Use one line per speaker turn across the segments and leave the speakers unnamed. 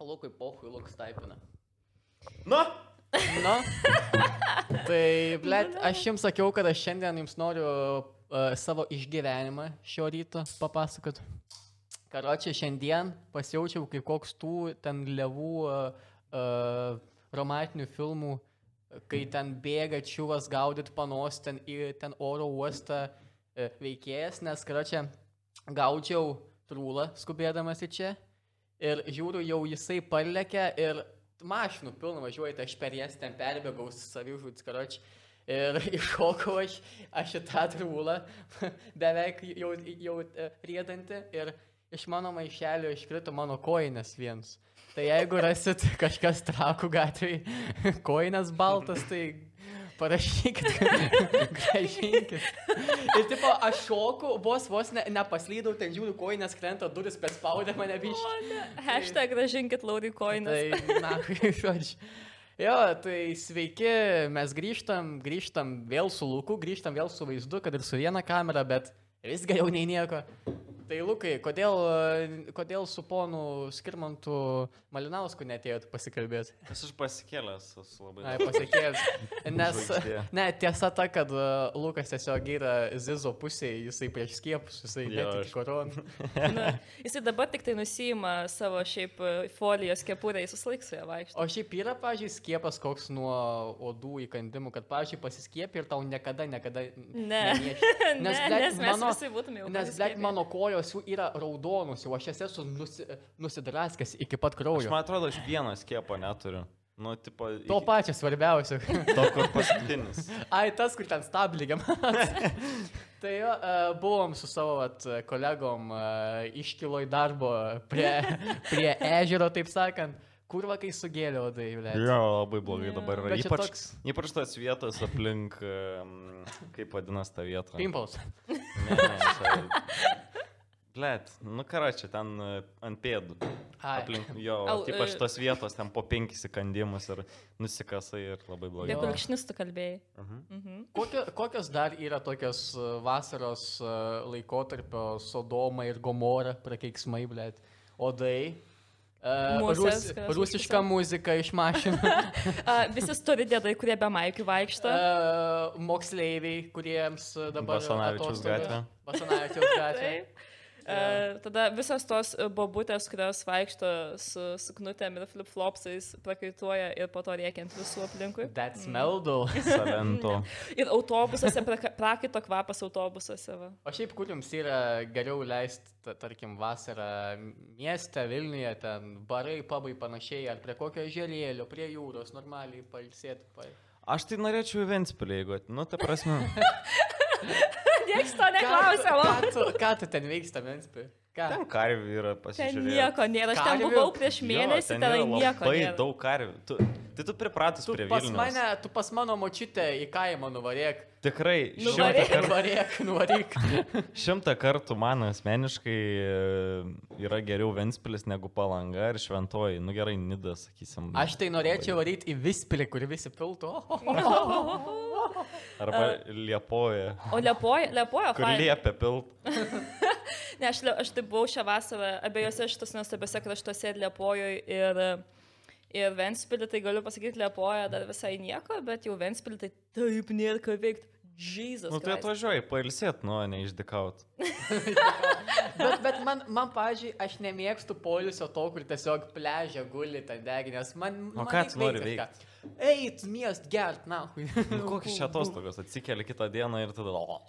Lukui pochui, Lukas taipina.
Na,
Na, tai, blėt, aš jums sakiau, kad aš šiandien jums noriu uh, savo išgyvenimą šio ryto papasakot. Karočią, šiandien pasijaučiau kaip koks tų ten levų uh, uh, romantinių filmų, kai ten bėga čiūvas gaudyt panos ten į ten oro uostą uh, veikėjas, nes, karočią, gaudžiau trūlą skubėdamas į čia ir žiūriu, jau jisai palekė ir mašinų pilna važiuoja, tai aš per jas ten perbėgau savižudis karočiui. Ir iššokau aš, aš į tą trūlą, beveik jau, jau e, riedanti, ir iš mano maišelio iškrito mano koinas vienas. Tai jeigu rasit kažkas trakų gatvėje, koinas baltas, tai parašykit, gražinkit. Ir tipo, aš šoku, vos vos ne, nepaslydau, ten žiūriu, koinas krenta, duris perspaudė mane biškai.
Hashtag gražinkit Laurį Koinas.
Tai, na, žodžiu. Jo, tai sveiki, mes grįžtam, grįžtam vėl su Luku, grįžtam vėl su vaizdu, kad ir su viena kamera, bet vis geriau nei nieko. Tai Lukai, kodėl, e, kodėl su ponu Skirmantu Malinausku netėjot pasikalbėti?
nes aš pasikėlęs esu labai.
Ai, pasakėjęs. Nes,
Žvaigždė.
ne, tiesa ta, kad e, Lukas tiesiog yra Zizo pusėje, jisai prieš skiepus, jisai
Jo,
netiki
aš-
koroną.
Na, jisai dabar tik tai nusima savo šiaip e, folijos kepurę, jis susilaiks su ją vaikšto.
O šiaip yra, pažiūrėjau, skiepas koks nuo odų įkandimų, kad, pažiūrėjau, pasiskiepi ir tau niekada, niekada...
Ne.
nenieši.
Ne,
Nes, blek,
nes mes
mano,
visi būtume jau
Nes, blek,
pasiskiepiję.
mano kojos jau yra raudonos, jau aš jas esu nusi, nusidraskęs iki pat
Aš
kraujo.
man atrodo, aš vieną skiepą neturiu. Nu, tipo,
To pačio svarbiausio.
To, kur paskutinis.
Ai, tas, kur ten stablygiam. tai jo, e, buvom su savo vat, kolegom e, iškilo į darbo prie, prie ežero, taip sakant, kurva kai sugėlė odai, blek.
Jo, labai blogai dabar yra.
Bet čia
Ypač, toks...
toks-
ypač tas vietas aplink, em, kaip vadinasi ta vieta.
Pimpuls.
Blet, nu ką čia ten e, ant pėdų.
Ai.
Aplink jo,
Au,
ypač
e.
tos vietos ten po penkis įkandimus ir nusikasai ir labai
jo.
Apie
blogai.
kulkšnius tu kalbėjai.
Mhm.
Mhm.
Kokio, kokios dar yra tokios e, vasaros e, laikotarpio Sodoma ir Gomora prakeiksmai, blėt, odai. Uh,
Musės, kurios
rusiška
užkisa.
muzika iš mašinų.
A, visi turi dėdai, kurie be maikių vaikšto.
uh, moksleiviai, kuriems e, dabar...
Basanavičiaus gatvė.
Basanavičiaus gatvė.
Taip. Uh, tada visos tos e, bobutės, kurios vaikšto su suknutėm ir flip-flopsais, prakaituoja ir po to rėkiant visų aplinkui. Mhm.
That's meldal.
Salento.
Ir autobusuose, praka- prakaito kvapas autobusuose. Va.
O šiaip, kur jums yra geriau leisti, tarkim, vasarą mieste, Vilniuje, ten barai, pabai panašiai, ar prie kokio žėlėlio, prie jūros, normaliai palsėti. Pal...
Aš tai norėčiau į Ventspilį, jeigu, at- nu, ta prasme.
Niekas to neklausė,
Ką,
o
ką, tu, ką tu ten veiksta, Ventspė? Ką?
Ten karvių yra
ten
pasižiūrėti.
nieko nėra. Aš ten
Karvių?
buvau prieš mėnesį, ten nieko
Labai
nėra.
daug karvių. Tu, tai tu pripratus
Tu
prie
pas,
Vilniaus.
mane, tu pas mano močiutę į kaimą nuvarėk.
Tikrai, šimtą
Nuvarėk.
Nuvarėk,
kartų,
nuvarėk.
šimtą kartų man asmeniškai e, yra geriau Ventspilis negu Palanga ir Šventoji. Nu gerai, Nida, sakysim.
Aš tai norėčiau varyti į Vispilį, kur visi piltų.
Arba Liepoja.
O lepojo, lepojo,
Kur liepia pilt.
Ne, aš, le- aš taip buvau šią vasarą abiejose šitose nuostabiose kraštuose ir Liepojo ir, ir Ventspilį, tai galiu pasakyti, Liepojo dar visai nieko, bet jau Ventspilį tai taip nėra ką veikti. Jesus.
Nu tai
Christ.
atvažiuoji, pailsėt, nu, o ne išdikaut.
Bet, bet man, man pažiūrėjau, aš nemėgstu poliusio to, kur tiesiog pležia guli ten deginės. Man,
O
man
ką
reik
tu nori
veikt kažką. Eit, miest, gert, na.
Nu, kokios čia atostogos, atsikeli kitą dieną ir tada... O,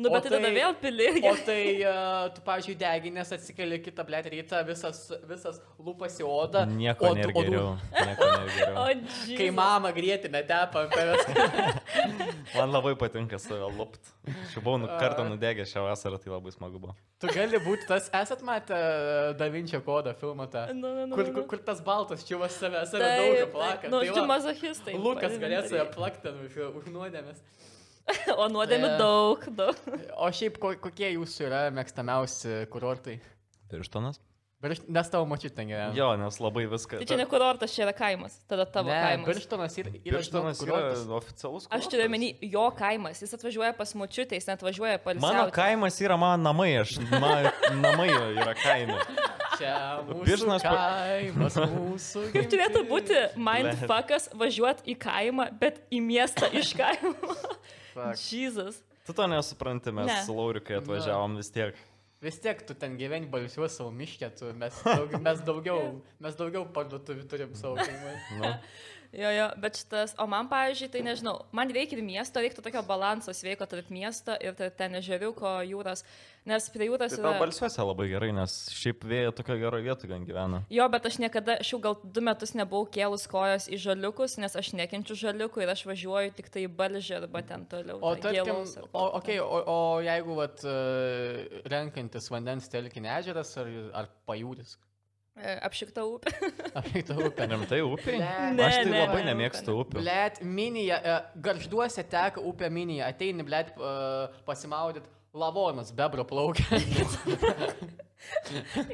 Nu,
O
bet tai tada
tai-
vėl
O
pilirgi.
tai, uh, tu, pavyzdžiui, deginės atsikeli kitą blėt rytą, visas, visas lūpas į odą.
nieko
od-
nėra
odų-
geriau. Nieko nėra
O,
geriau.
Jesus.
Kai mama grėtinę tepa ant tavęs.
Man labai patinka save lupt. Šiaip buvau nu, kartą nudegęs šią vasarą, tai labai smagu buvo.
Tu gali būti tas, esat matę Davinčio kodą filmą tą.
Nu, nu, nu,
Kur,
nu, nu.
kur, kur tas baltas čiūvas save, save
Taip,
daug
taip.
plaka.
Nu,
Tai va,
aš tu mazochistai.
Lukas galės save
pavadinami.
plakti už, už nuodėmės.
O nuodėmė
E.
daug, daug.
O šiaip ko, kokie jūsų yra mėgstamiausi kurortai?
Pirštonas?
Nes tavo mačiut ten gyvena.
Jo, nes labai viską.
Tai čia ne kurortas, čia yra kaimas. Tada tavo
ne,
kaimas.
Birštonas ir
Pirštonas yra oficialus.
Aš
kurortas.
turiu menį, jo kaimas. Jis atvažiuoja pas močiutę, jis net važiuoja palsiauti.
Mano kaimas yra mano namai, aš, ma, namai yra kaime.
Čia mūsų
Birštonas pa-
kaimas, mūsų.
Kaip turėtų būti
Blet.
mindfuckas važiuoti į kaimą, bet į miestą iš kaimo.
Fuck.
Jesus.
Tu to nesupranti, mes
Ne. Nu.
su Laurikai atvažiavom vis tiek.
Vis tiek tu ten gyveni balsiuos savo miškė, tu, mes, daug, mes, daugiau, mes daugiau parduotuvių turim savo kaimai.
Nu,
Jo, jo, bet šitas, o man, pavyzdžiui, tai nežinau, man reikia ir miesto, reiktų tokio balanso sveiko tarp miesto ir tarp ten ežeriuko, jūros, nes prie jūros
tai tau
yra...
balsiuose labai gerai, nes šiaip vėjo tokio gero vietų gan gyvena.
Jo, bet aš niekada, aš jau gal du metus nebuvau kėlus kojos į žaliukus, nes aš nekenčiu žaliukų ir aš važiuoju tik tai į balžį arba ten toliau.
O,
tą
tarkim,
gėlus ar
o,
kur
okay,
ten.
o, o jeigu vat, e, renkantis vandens telkinį ežeras ar, ar pajūris,
E, Apšikta upė.
apie tą upę.
Rimtai upiai?
Ne,
Aš tai
ne,
labai
ne,
nemėgstu upių.
Blet, minija, e, garžduose teka upė minija, ateini, blet, e, pasimaudyt, lavonas bebro plaukia.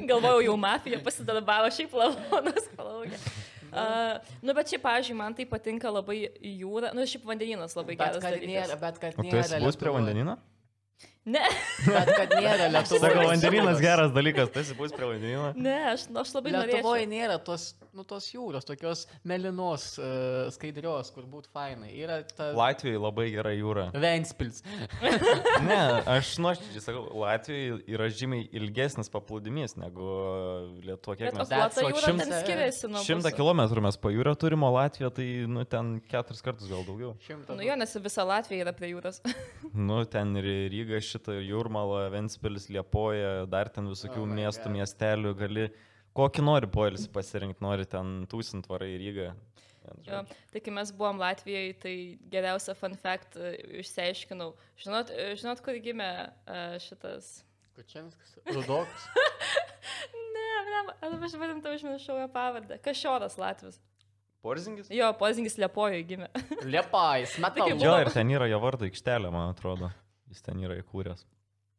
Galvojau, jau mafija pasidarbavo, šiaip lavonas plaukė. Uh, nu, bet šiaip, pažiūrėjau, man tai patinka labai jūra, nu, šiaip vandeninas labai
Bet
geras.
kad nėra,
dalykas.
bet kad
O tu
nėra.
esi bus prie
Lietuvoj.
vandenino?
Ne,
Bet kad nėra Lietuvoje.
Sako, vandeninas geras dalykas, tu esi bus prie vandenino.
ne, aš, nu, aš labai
Lietuvoje
norėčiau.
nėra tos, nu, tos jūros, tokios melinos, uh, skaidrios, kur būtų fainai. Yra ta...
Latvijoje labai gera jūra.
Ventspils.
Ne, aš nuoširdžiai sakau, Latvijoje yra žymiai ilgesnis paplūdimys negu Lietuva. Kiek
Bet
mes
That's
aplota
what
jūra ten
šimtą-
skiriasi nuo...
Šimtą
mūsų.
kilometrų mes pajūrio turim, o Latvija tai, nu, ten keturis kartus gal daugiau.
Šimtas.
Nu, jo, nes visa Latvija yra prie jūros.
Nu, ten ir Ryga šitą, ir Jūrmala, Ventspilis, Liepoja, dar ten visokių
Oh
oh
my
miestų,
God.
miestelių, gali kokį nori poilsį pasirinkti, nori ten tūsint varai į Rygą.
Jo, tai kai mes buvom Latvijoje, tai geriausią fun fact e, išsiaiškinau. Žinot, e, žinot kur gimė e, šitas...
Kučinskas. Rudoks.
Ne, ne, ar aš vadintu užmiršau jo pavardę. Kašioras Latvijas.
Porzingis?
Jo, pozingis Liepojoje gimė.
Liepais. Matau.
Taigi
Jo, ir ten yra jo vardo aikštelė, man atrodo. Jis ten yra įkūręs.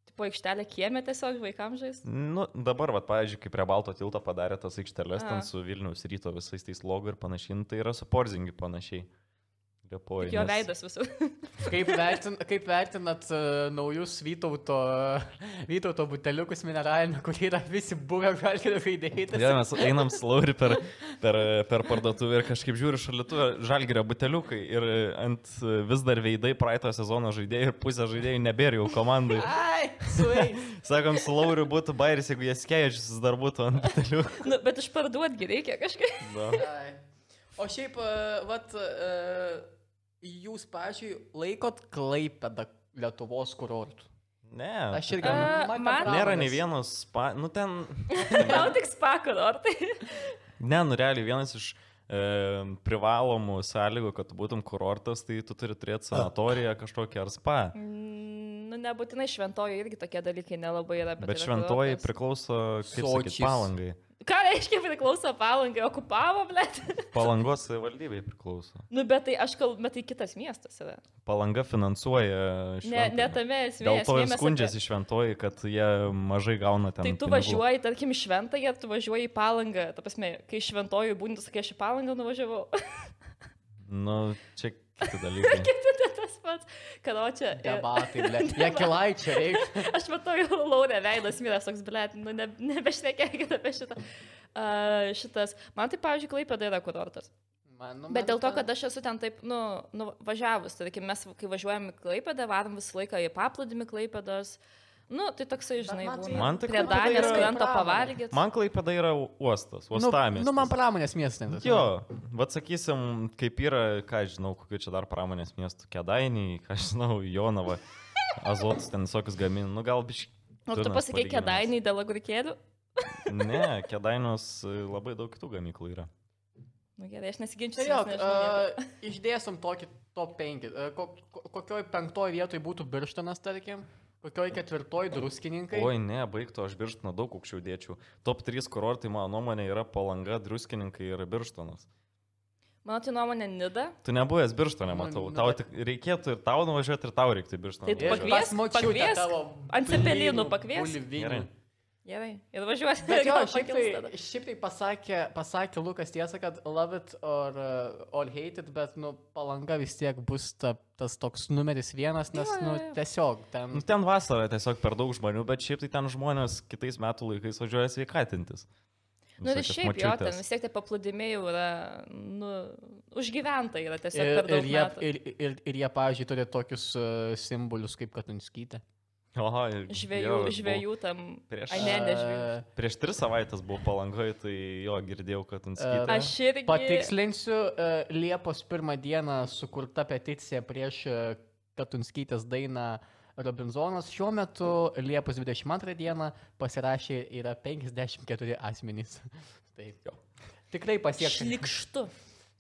Tipo aikštelė kiemė tiesiog vaikams žaisti.
Nu, dabar, va, pavyzdžiui, kai prie Balto tilto padarė tas aikštelės
A.
ten su Vilniaus ryto visais tais logo ir panašiai, nu, tai yra su Porzingiu panašiai. Liepoja.
Jo veidas visur.
Kaip, vertin, kaip vertinat uh, naujus Vytauto, Vytauto buteliukus mineralinio, kur yra visi buvę žalgerio
Ja,
žaidėjai?
mes einam slauri per, per, per parduotuvę ir kažkaip žiūriu šalitų žalgerio buteliukai ir ant vis dar veidai praeito sezono žaidėjų ir pusė žaidėjų nebėra jau komandai.
Ai, suai.
Sakom, su lauriu būtų bairis, jeigu jie skėjačius dar būtų ant buteliukų.
nu, bet išparduotgi reikia kažkaip.
Da.
Ai. O šiaip, uh, vat, uh, jūs, pažiūrėjau, laikot Klaipėdą Lietuvos kurortų.
Ne.
Aš irgi.
A,
nu, man ten
man-
pramonės.
Nėra nei vienos, spa... nu ten,
Gal tik spakalo, ar tai?
ne, nu realiai vienas iš e, privalomų sąlygų, kad tu būtum kurortas, tai tu turi turėti sanatoriją kažkokią ar spa.
Mm, Nu, nebūtinai šventoji irgi tokie dalykai nelabai yra.
Bet
yra
šventoji
kurortas.
priklauso, kaip sakyt,
Sočis.
palangai.
Ką reiškia priklauso palangai, okupavo, blėt?
Palangos savivaldybei priklauso.
Nu, bet tai aš kalbu, bet tai kitas miestas yra.
Palanga finansuoja
Ne,
šventąją.
ne tame esmė.
Dėl to
esmė
ir
mes
skundžiasi šventoji, kad jie mažai gauna ten.
Apie... Tai tu
pinigų.
važiuoji, tarkim, į šventąją, tu važiuoji į palangą. Ta prasme, kai šventoji būni, tu sakai, aš į palangą nuvažiavau.
Nu, čia kiti dalykai.
Tai tas pats, e, kad o čia. ir-
Debatai, ble. Jekilaičia, reikia.
Aš matau jau laurę veidas, miręs toks, blėt, nu, ne, nebešnekėkit apie šitą. Uh, šitas. Man tai, pavyzdžiui, klaipėda yra kurortas.
Man, nu,
Bet
man
dėl to,
ten-
kad aš esu ten taip, nu, nu važiavus, tarkim, mes, kai važiuojam į Klaipėdą, varom visą laiką į paplūdimį Klaipėdos. Nu, tai toksai, žinai,
man tai-
būna.
Man tai
prie
Klaipėda
Danės
yra
krantą
pramonė.
pavalgyti.
Man klaipada yra uostas,
Nu,
uostamis.
nu, man pramonės miestas.
Jo, vad sakysim, kaip yra, ką aš žinau, kokie čia dar pramonės miestų kedainiai, ką aš žinau, Jonava, azotas ten visokius gamina, nu gal biškai.
O tu pasakai kedainiai dėl agurkėlių?
Ne, kedainos labai daug kitų gamyklų yra.
Nu gerai, aš nesiginčiu.
Tai jok, uh, išdėsim tokį top 5. Uh, ko, ko, kokioj penktoj vietoj būtų birštanas, tarkim, kokioj ketvirtoj druskininkai.
Oi, ne, baigtų, aš birštiną daug aukščiau dėčiau. Top 3 kurortai, mano nuomonė, yra palanga, druskininkai ir birštinas.
Mano tai nuomonė nida.
Tu nebuvęs birštone,
Nu,
matau.
nu,
Tau
bet-
tik reikėtų ir tau nuvažiuoti, ir tau reiktų į birštoną.
Tai tu
Ir
nuvažiuot.
pakviesk,
pas močiutę
pakviesk,
tavo
ant cepelinų
blynų,
pakviesk.
bulvinių.
Gerai.
Gerai, ir važiuosiu.
Bet jo,
gal
šiaip
pakils tada.
tai, šiaip tai pasakė, pasakė Lukas tiesą, kad love it or, uh, or hate it, bet, nu, palanga vis tiek bus ta, tas toks numeris vienas, nes,
Jo, jo,
nu,
jo.
tiesiog ten...
Nu, ten vasara tiesiog per daug žmonių, bet šiaip tai ten žmonės kitais metų laikais važiuoja sveikatintis.
Nu ir
Visokios
šiaip jo, ten
močiutės.
vis tiek tie paplūdimiai jau yra, nu, užgyventa yra tiesiog
Ir,
per
ir,
daug
jie,
metų.
ir, ir, ir jie, pavyzdžiui, turi tokius uh, simbolius kaip Katunskytė.
Oho, ir-
Žvėjų,
jo, aš buvau-
žvėjų tam.
Prieš-
Ai, ne, ne žvėjų.
Uh,
Prieš tris savaitės buvau palangoje, tai jo, girdėjau, kad ant skydo.
Aš irgi.
Patikslinsiu, e, Liepos pirmą dieną sukurta peticija prieš e, Katunskytės dainą Robinzonas. Šiuo metu Liepos 22 dieną pasirašė yra 54 asmenys. Taip. Tikrai pasieks.
Šlikštu.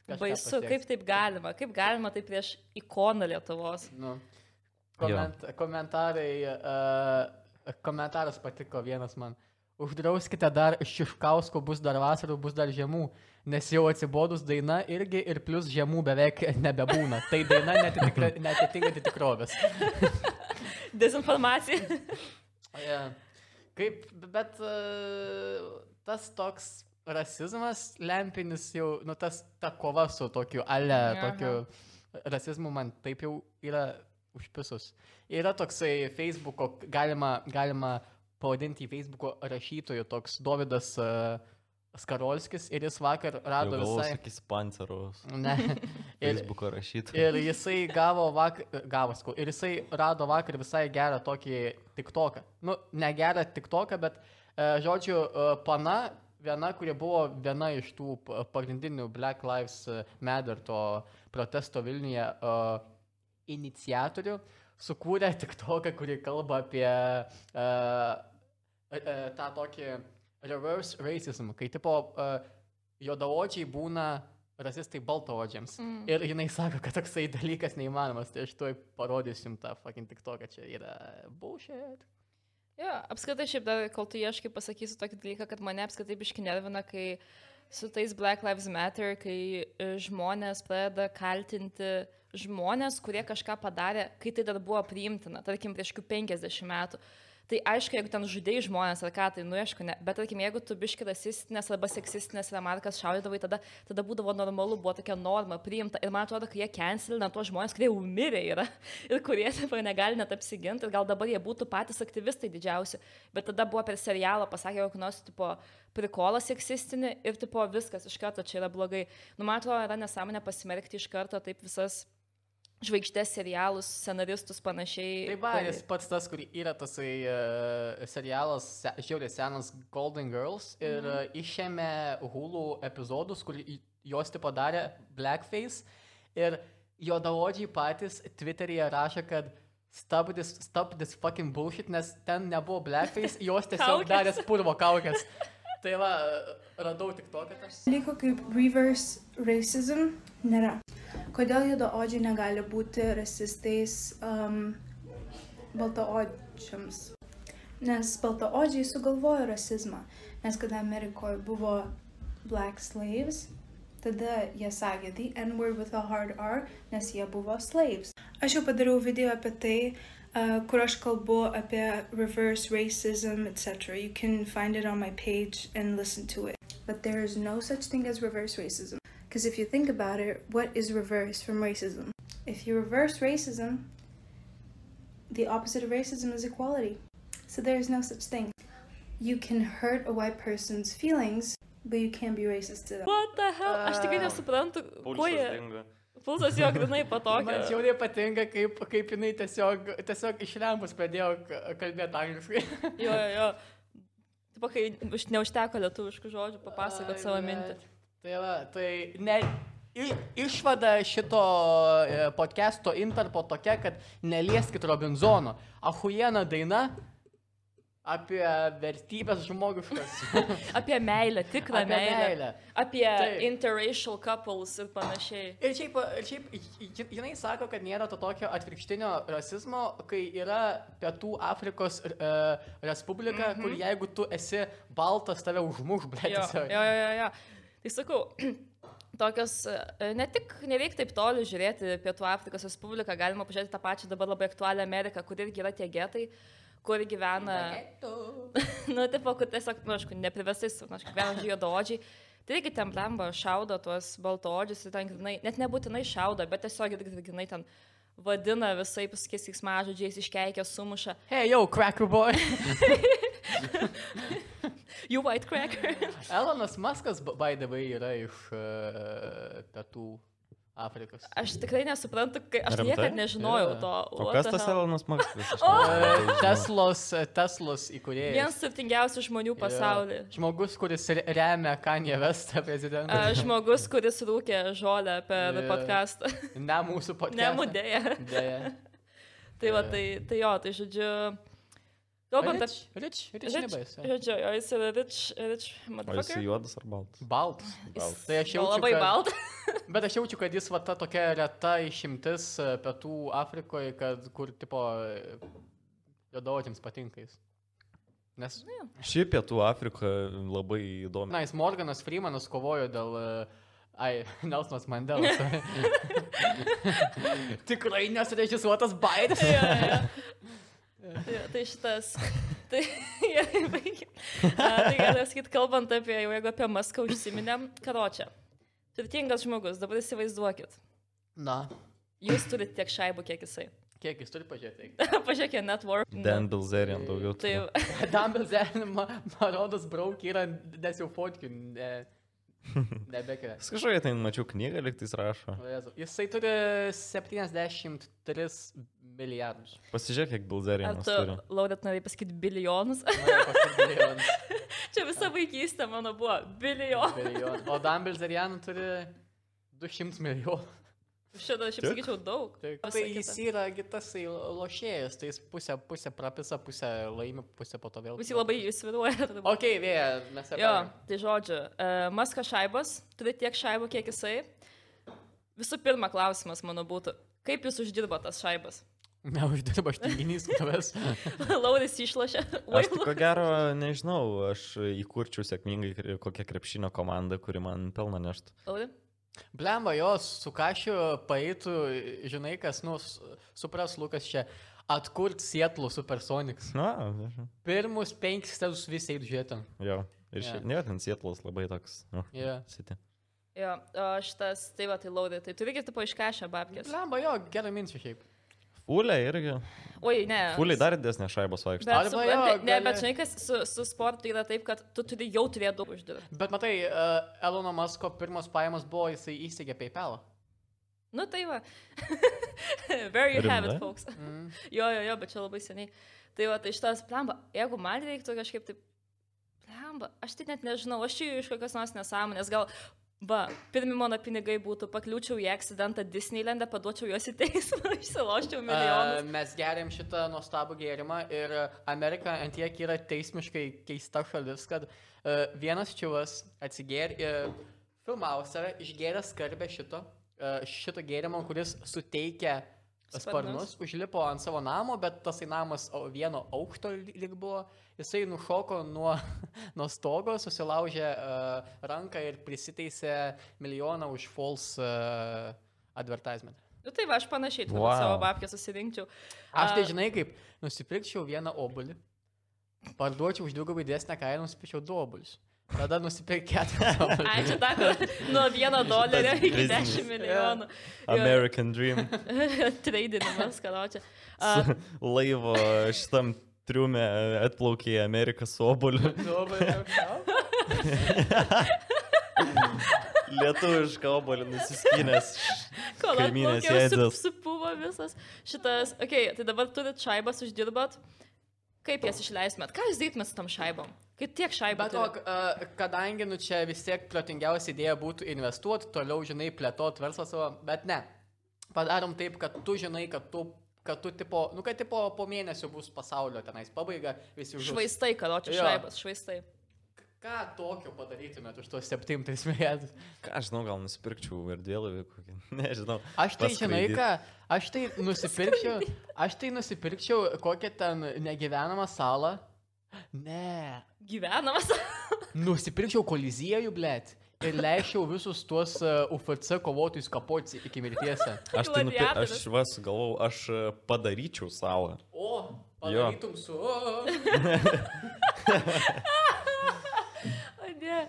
Kažką
Baisu,
pasieks.
kaip taip galima, kaip galima taip prieš ikoną Lietuvos.
Nu, koment, komentarai, uh, komentaras patiko vienas man. Uždrauskite dar Šiškausko, bus dar vasarų, bus dar žiemų, nes jau atsibodus daina irgi ir plus žiemų beveik nebebūna. Tai daina netitikra- neatitinkanti tikrovės.
Dezinformacija.
Yeah. Kaip, bet uh, tas toks rasizmas, lempinis jau, nu tas ta kova su tokiu ale,
Aha.
tokiu rasizmu man taip jau yra užpisus. Yra toksai Facebook'o, galima, galima pavadinti jį Facebook'o rašytoju, toks Davidas uh, Skarolskis ir jis vakar rado visai.
Sakys panceros.
Ne. Ir,
Facebook'o rašytojas.
Ir jisai gavo vakar, gavo skau, ir jisai rado vakar visai gerą tokį tiktoką. Nu, ne gerą tiktoką, bet, e, žodžiu, e, pana, viena, kuri buvo viena iš tų p- pagrindinių Black Lives Matter to protesto Vilniuje e, iniciatorių, sukūrė tiktoką, kuri kalba apie e, e, tą tokį reverse racism, kai tipo e, juodaodžiai būna rasistai baltaodžiams.
Mm.
Ir jinai sako, kad toksai dalykas neįmanomas, tai aš tuoj parodysiu jums tą fucking tik to, kad čia yra bullshit.
Jo, apskritai šiaip dar, kol tu ieškai, pasakysiu tokį dalyką, kad mane apskritai biški nervina, kai su tais Black Lives Matter, kai e, žmonės pradeda kaltinti žmonės, kurie kažką padarė, kai tai dar buvo priimtina, tarkim, prieš kokių 50 metų. Tai aišku, jeigu ten žudėjai žmonės ar ką, tai nuėšku, ne. Bet tarkim, jeigu tu biški rasistinės arba seksistinės remarkas šaudydavai, tada, tada būdavo normalu, buvo tokia norma priimta. Ir man atrodo, kai jie cancelina tuos žmonės, kurie jau mirė yra ir kurie dabar negali net apsiginti, ir gal dabar jie būtų patys aktyvistai didžiausi, bet tada buvo per serialą, pasakė, jog nors, tipo, prikolas seksistinį ir, tipo, viskas iš karto čia yra blogai. Nu, man atrodo, yra nesąmonė pasimerkti iš karto taip visas žvaigždės serialus, scenaristus panašiai.
Tai baris pats tas, kur yra tasai uh, serialas, se, žiauriai senas Golden Girls ir uh, išėmė Hulu epizodus, kur i- jos tipo darė blackface ir juodaodžiai patys Twitter'yje rašė, kad Stop this, stop this fucking bullshit, nes ten nebuvo blackface, jos tiesiog
Kaukės.
darė spurvo kaukės. Tai va, radau tik to, kad aš.
Dalyko kaip reverse racism nėra. Kodėl juodaodžiai negali būti rasistais um, baltaodžiams? Nes baltaodžiai sugalvojo rasizmą. Nes kada Amerikoje buvo black slaves, tada jie sakė the N-word with a hard R, nes jie buvo slaves. Aš jau padariau video apie tai, uh, kur aš kalbu apie reverse racism, etc. You can find it on my page and listen to it. But there is no such thing as reverse racism. Because if you think about it, what is reverse from racism? If you reverse racism, the opposite of racism is equality. So there is no such thing. You can hurt a white person's feelings, but you can't be racist to them.
What the hell? Aš tikrai
A,
nesuprantu, kuo jie.
dingo.
Pulsas jo grinai
Man
patogiai.
žiauriai patinka, kaip, kaip jinai tiesiog, tiesiog išlempus pradėjo k- kalbėti angliškai.
Jo, jo, jo. Taip, kai už- neužteko lietuviškų žodžių papasakot
Ai,
savo
blet.
mintį.
Tai va, tai ne. i- Išvada šito e, podcast'o interpo tokia, kad nelieskit Robinzono. Ahujena daina apie vertybės žmogiškas.
Apie meilę, tikrą
Apie
meilę.
meilę.
Apie
Taip.
interracial couples ir panašiai.
Ir šiaip, ir šiaip ji- jinai sako, kad nėra to tokio atvirkštinio rasizmo, kai yra Pietų Afrikos e, Respublika, mm -hmm. kur jeigu tu esi baltas, tave užmuš, blė,
Jo,
tiesiog.
jo, jo, jo. Tai sakau, tokios, e, ne tik nereikia taip toli žiūrėti Pietų Afrikos Respubliką, galima pažiūrėti tą pačią dabar labai aktualią Ameriką, kur irgi yra tie getai, kur gyvena, nu, tipo, kur tiesiog, nu, aišku, neprivestais, nu, aišku, gyvena žydodžiai. Tai irgi ten blemba šaudo tuos baltodžius, ir ten, grinai, net nebūtinai šaudo, bet tiesiog, grinai, ten vadina visai paskisiais mažodžiais, iškeikia, sumuša.
Hey, yo, cracker boy.
You white cracker.
Elonas Maskas, b- by the way, yra iš uh, pietų Afrikos.
Aš tikrai nesuprantu, kai aš niekada
Rimtai?
nežinojau
Jo.
to.
O
What
kas
the
tas
hell?
Elonas Maksas? tai
Uh, Teslos, Teslos
Vienas
įkūrėjas.
turtingiausių žmonių
Jo.
pasaulyje.
Žmogus, kuris re- remia Kanye Westą prezidentą.
A, Žmogus, kuris rūkė žolę per
Jo.
yeah. podcastą.
Ne mūsų podcast'ą.
Nemudėja.
Deja.
tai va,
Jo.
tai, tai jo, tai žodžiu. Kalbant
Rich,
apie...
rich, rich,
Rich,
rich.
žodžiu, jo, jis yra rich, rich
O jis
motherfucker.
juodas ar baltas?
Baltas.
Baltas.
Tai aš
Jau
jaučiu,
labai
kad-
baltas.
Bet aš jaučiu, kad jis va ta tokia reta išimtis e, pietų Afrikoje, kad kur tipo e, juodaodžiams patinka jis. Nes,
Ši pietų Afrika labai įdomi.
na, jis Morganas Freemanas kovojo dėl... e, Ai, Nelsonas Mandelas. Tikrai nesurežisuotas Baidas.
Jo, jo, jo. Jo, tai šitas. Tai, ja, tai galima sakyti, kalbant apie, jau jeigu apie Maską užsiminėm, karočią. Turtingas žmogus, dabar įsivaizduokit.
Na,
Jūs turite tiek šaibų, kiek jisai.
kiek jis turi pažiūrėti?
Pažiūrėkite, network.
Dan Bilzerian daugiau.
Tai
turi.
Dumbles, Marodas Brauk yra, e, nes jau fotkiu, ne, nebekeria.
Jis kažkokia ten mačiau knygą, liktais rašo.
O Jėzau, Jisai turi 73 milijardus.
Pasižiūrėk, kiek
Ar
Bilzerianas
tu,
turi.
Laudat, norėjai pasakyti bilijonus?
Norėjau pasakyt milijonus,
Čia visa vaikystė mano buvo. Bilijonų.
milijonus. O Dumbledore turi 200 milijonų.
Šiandien aš jau
Tiek?
sakyčiau daug. Visa
Tai jis
kita.
yra gi tasai lošėjas, tai jis pusę, pusę prapisa, pusę laimi, pusę po to vėl.
Visi labai įsivaizduoja.
Ok, vėja, mes
Jo, tai žodžiu, uh, Maska šaibos, turi tiek šaibų, kiek jisai. Visų pirma, klausimas mano būtų, kaip jūs uždirba tas šaibas?
Neuždirba aš tinginys, tavęs.
Lauris išlošia.
Aš tai ko gero, nežinau, aš įkurčiau sėkmingai kre- kokią krepšinio komandą, kuri man pelną neštų.
Lauri?
Blemba, jos su kašiu paeitų, žinai, kas, nu, s- supras Lukas čia, atkurt Sietlų Supersonics.
Na, nežinau.
Pirmus penkis tezus visi eitų žiūrėti.
Jo. Ir
Jo.
šiaip, ne, ten Sietlas labai toks. Nu,
Jo.
City.
Jo, o šitas, tai va, tai Lauri, tai turi kaip tipo iškešę babkės.
Blemba, jo, gerą minčių šiaip.
Fulė irgi.
Oi, ne.
Fulė dar didesnė šaibos vaikšto.
Bet,
Arba
su,
jo,
ne, ne,
gali-
bet žinai, kas su, su sportu yra taip, kad tu turi jau turėti daug uždirbti.
Bet matai, uh, Elono Masko pirmas pajamos buvo, jisai įsteigė PayPal.
Nu tai va. Very you have
Rimtai?
it, folks.
Mm.
Jo, jo, jo, bet čia labai seniai. Tai va, tai šitas plemba, jeigu man reiktų kažkaip taip, plemba, aš tai net nežinau, aš čia jau iš kokios nors nesąmonės, gal, va, pirmi mano pinigai būtų, pakliūčiau į akcidentą Disneylandą, paduočiau juos į teismą, išsiloščiau
Uh,
milijonus.
mes geriam šitą nuostabų gėrimą ir Amerika antiek yra teismiškai keista šalis, kad uh, vienas čiuvas atsigėrė, uh, filmavo save, išgėrė skarbę šito, uh, šito gėrimo, kuris suteikia sparnus,
Sparnus.
užlipo ant savo namo, bet tasai namas o- vieno aukšto li- lyg buvo, jisai nušoko nuo, nuo stogo, susilaužė uh, ranką ir prisiteisė milijoną už false uh, advertisement.
Nu tai va, aš panašiai turbūt
Wow.
savo babkę susirinkčiau.
Aš tai
A-
žinai kaip, nusipirkčiau vieną obulį, parduočiau už dvigubai didesnę kainą, nusipirkčiau du obulius. Tada nusipirk keturis
Ai,
obulius.
čia tako, nuo vieno dolerio iki
biznis.
dešimt milijonų.
American Dream.
Tradinimas, ką čia. A,
Su laivo šitam triume atplaukė į Ameriką su oboliu.
Du obulius.
Lietuvišką obolį nusiskinęs.
Kol
Kaimynės
atplaukiau,
ėdžios.
su, supuvo visas šitas. Ok, tai dabar turit šaibas uždirbat. Kaip jas išleistumėt? Ką jūs darytumėt su tam šaibom? Kaip tiek šaibų?
Bet o,
turit?
k- e, kadangi nu čia vis tiek protingiausia idėja būtų investuoti, toliau, žinai, plėtoti verslą savo, bet ne. Padarom taip, kad tu žinai, kad tu, kad tu tipo, nu, kad tipo po mėnesio bus pasaulio tenais pabaiga, visi žus.
švaistai, ką čia
Jo.
šaibas, švaistai.
Ką tokio padarytumėt už tuos 7 milijardus?
Ką aš žinau, gal nusipirkčiau ir dėlavį kokį. Nežinau.
Aš tai, žinai,
Paskraidyt.
ką, aš tai nusipirkčiau, aš tai nusipirkčiau kokią ten negyvenamą salą. Ne,
Gyvenamas.
nusipirkčiau koliziejų, blėt. Ir leisčiau visus tuos uh, UFC kovotojus kapoti iki mirties.
Aš tai nupirkčiau.
Gladiatorius.
Aš vas galvau, aš e, padaryčiau salą.
O, Padarytum su...
O ne.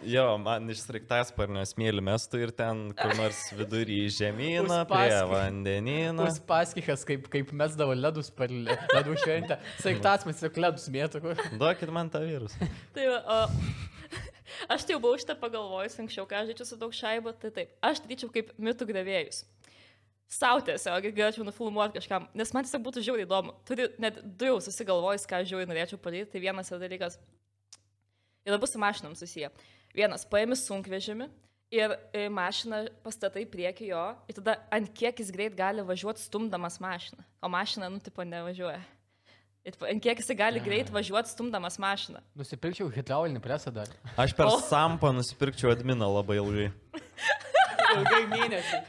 Jo, man iš sraigtasparnio smėlį mestų ir ten kur nors vidury žemyną, prie
Uspaskich.
vandenyną.
Nors paskikas, kaip, kaip mesdavo ledus per le- ledų šventę. Saiktasmas tiesiog ledus mėtų. kur-
Duokit man tą virusą.
Tai va, o, aš tai jau buvau šitą pagalvojus anksčiau, ką aš daryčiau su daug šaibo, tai taip, aš daryčiau kaip mitų gavėjus. Sau tiesiog galėčiau nufilmuoti kažkam, nes man tiesiog būtų žiauriai įdomu. Turiu net du jau susigalvojus, ką aš žiauriai norėčiau padaryti, tai vienas yra dalykas. Ir abu su mašinom susiję. Vienas, paėmi sunkvežimį ir e, mašiną pastatai prieki jo ir tada ant kiek jis greit gali važiuoti stumdamas mašiną. O mašina, nu, tipo, nevažiuoja. Ir ant kiek jis gali greit važiuoti stumdamas mašiną.
Nusipilčiau hidraulinį presą dar.
Aš per
O.
sampą nusipirkčiau adminą labai ilgai.
Ilgai mėnesį.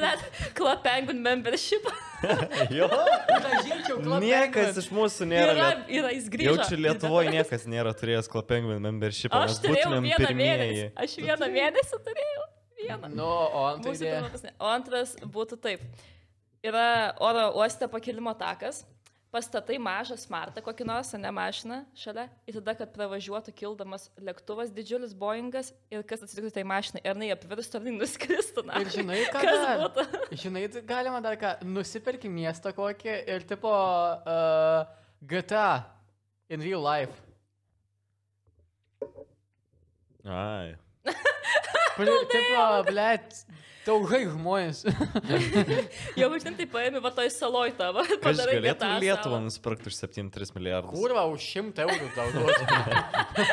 Net Club Penguin membership.
Jo,
Dažyčiau
niekas iš mūsų nėra.
Yra, yra,
Liet...
yra jis grįžo.
Jaučiu Lietuvoje niekas nėra turėjęs klapengvin membership,
Aš
mes
turėjau
būtumėm
vieną mėnesį.
pirmieji.
Aš vieną mėnesį turėjau. Vieną.
Nu, o antai
Mūsų
idėja.
pirma pasne- O antras būtų taip. Yra oro uoste pakilimo takas, pastatai mažą smartą kokį nors, ne mašiną šalia, ir tada, kad pravažiuotų kildamas lėktuvas didžiulis Boeingas ir kas atsitiktų tai mašinai, ar jinai apvirstų, ar jinai nuskristų. na.
Ir žinai, ką
Kas
dar?
būtų?
Žinai, tai galima dar ką, nusipirki miestą kokį ir tipo uh, GTA in real life.
Ai.
Pri, tipo, ble, daugai žmonės.
Jau žinai, tai paėmė va toj saloj tavo.
Kas
padarai
galėtų
vietą
Lietuvą
savo.
nusipirkti už 7-3 milijardus?
Kurva, už šimtą eurų tau duotų.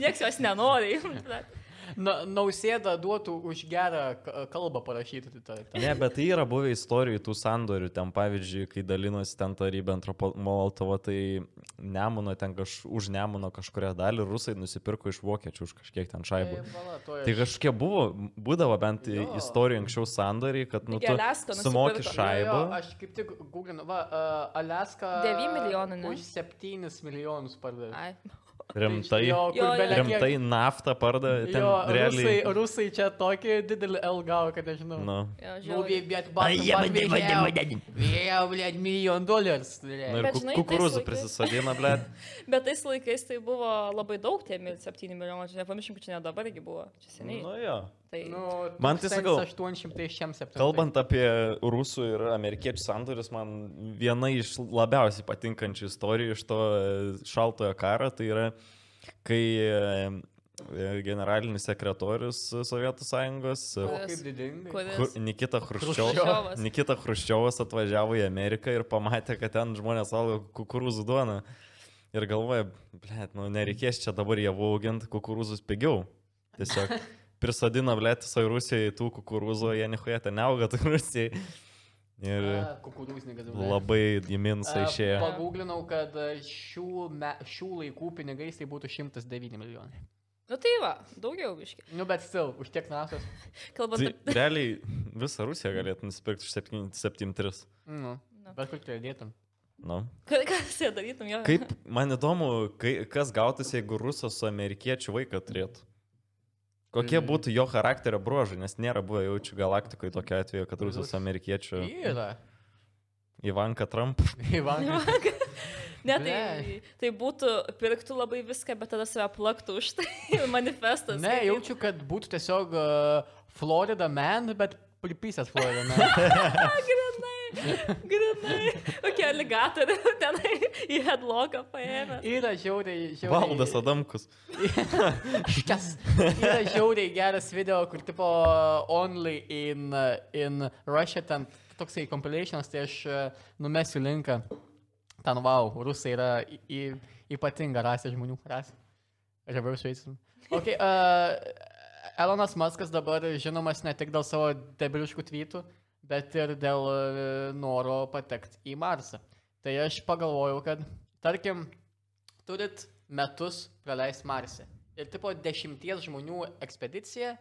Niekas jos nenori. blet.
Na, nausėda duotų už gerą k- kalbą parašyti. Tai, tai, tai.
Ne, bet tai yra buvę istorijų tų sandorių, ten pavyzdžiui, kai dalinosi ten tarybė Molotova, tai Nemuno, ten kaž, už Nemuno kažkuria dalį rusai nusipirko iš vokiečių už kažkiek ten šaibų.
Vala, to
Tai kažkokie buvo, būdavo bent
Jo.
istorijų anksčiau sandoriai, kad nu,
Taigi
tu
Aliaską
sumoki
nusipirko.
šaibą.
Aš kaip tik googlinu, va, uh, Aleska.
9 milijonų, ne?
Už 7 milijonus pardavė.
Ai.
Rimtai,
tai Jo,
Jo,
kur
jo.
bele kiek-
rimtai naftą pardavė, ten
Jo, rusai,
realiai.
rusai čia tokį didelį L gavo, kad nežinau.
Nu.
Jo,
Ну,
žiauriai.
бе- блядь, бабки
я
подвезли,
мать,
я-
мать, мать.
Я, блядь, миллион долларов,
Nu
блядь.
ir
Bet
ku-
žinai, tais
kukurūzų
laikais-
prisisadina, ble.
Bet tais laikais tai buvo labai daug tie mil- 7 milijonai, čia nepamirškim, kad čia ne dabargi buvo, čia seniai.
Nu jo.
Tai
Ну,
Man tai sakau,
1867.
Kalbant apie rusų ir amerikiečių sandorius, man viena iš labiausiai patinkančių istorijų iš to e, šaltojo karo, tai yra, kai e, e, generalinis sekretorius e, Sovietų sąjungos e,
O, kaip didingai.
Chru-
kodėl?
Nikita
Chruščiovas.
Chruščiovas. Nikita Chruščiovas atvažiavo į Ameriką ir pamatė, kad ten žmonės valgo kukurūzų duoną. Ir galvoja, blėt, nu nereikės čia dabar javų auginti kukurūzus pigiau. Tiesiog prisadina, blėt, visai Rusijai tų kukurūzų, jie nihuja ten auga, tai Rusijai. Ir
А, Kukurūznikas. blядь.
labai
A,
įminsa išėjo.
Pagūglinau, kad a, šių, me, šių laikų pinigais tai būtų 109 milijonai.
Nu tai va, daugiau biški.
Nu, bet still, už tiek nasos.
Kalbant
Tai
apie...
realiai visą Rusiją galėtų nusipirkti už 7-3.
Nu,
Nu.
bet kur tai dėtum.
Nu.
Ką ką jūs jie darytum, jo?
Kaip man įdomu, kai, kas gautųsi, jeigu rusas su amerikiečiu vaiką turėtų. Kokie
Mm.
būtų jo charakterio bruožai, nes nėra buvę jaučiu galaktikoje tokio atveju, kad rusas su amerikiečiu
Yra.
Ivanka Trump.
Ivanka.
Ne, tai,
Ble.
tai būtų, pirktų labai viską, bet tada save plaktų už tai manifestas.
Ne, jaučiu, kad būtų tiesiog a, Florida man, bet pripisęs Florida man.
Grinai, grinai. Kokie aligatoriai tenai į headlocką paėmė.
Yra žiauriai, žiauriai.
Valdas Adamkus.
Šitas. Yra žiauriai geras video, kur tipo only in, in Russia ten toksai compilations, tai aš e, numesiu linką. Ten wow, rusai yra į, į, ypatinga rasė žmonių. Rasė. Reverse racism. Ok, uh, Elonas Muskas dabar žinomas ne tik dėl savo debiliškų tvytų, bet ir dėl uh, noro patekti į Marsą. Tai aš pagalvojau, kad tarkim, turit metus praleisti Marse. Ir tipo dešimties žmonių ekspedicija.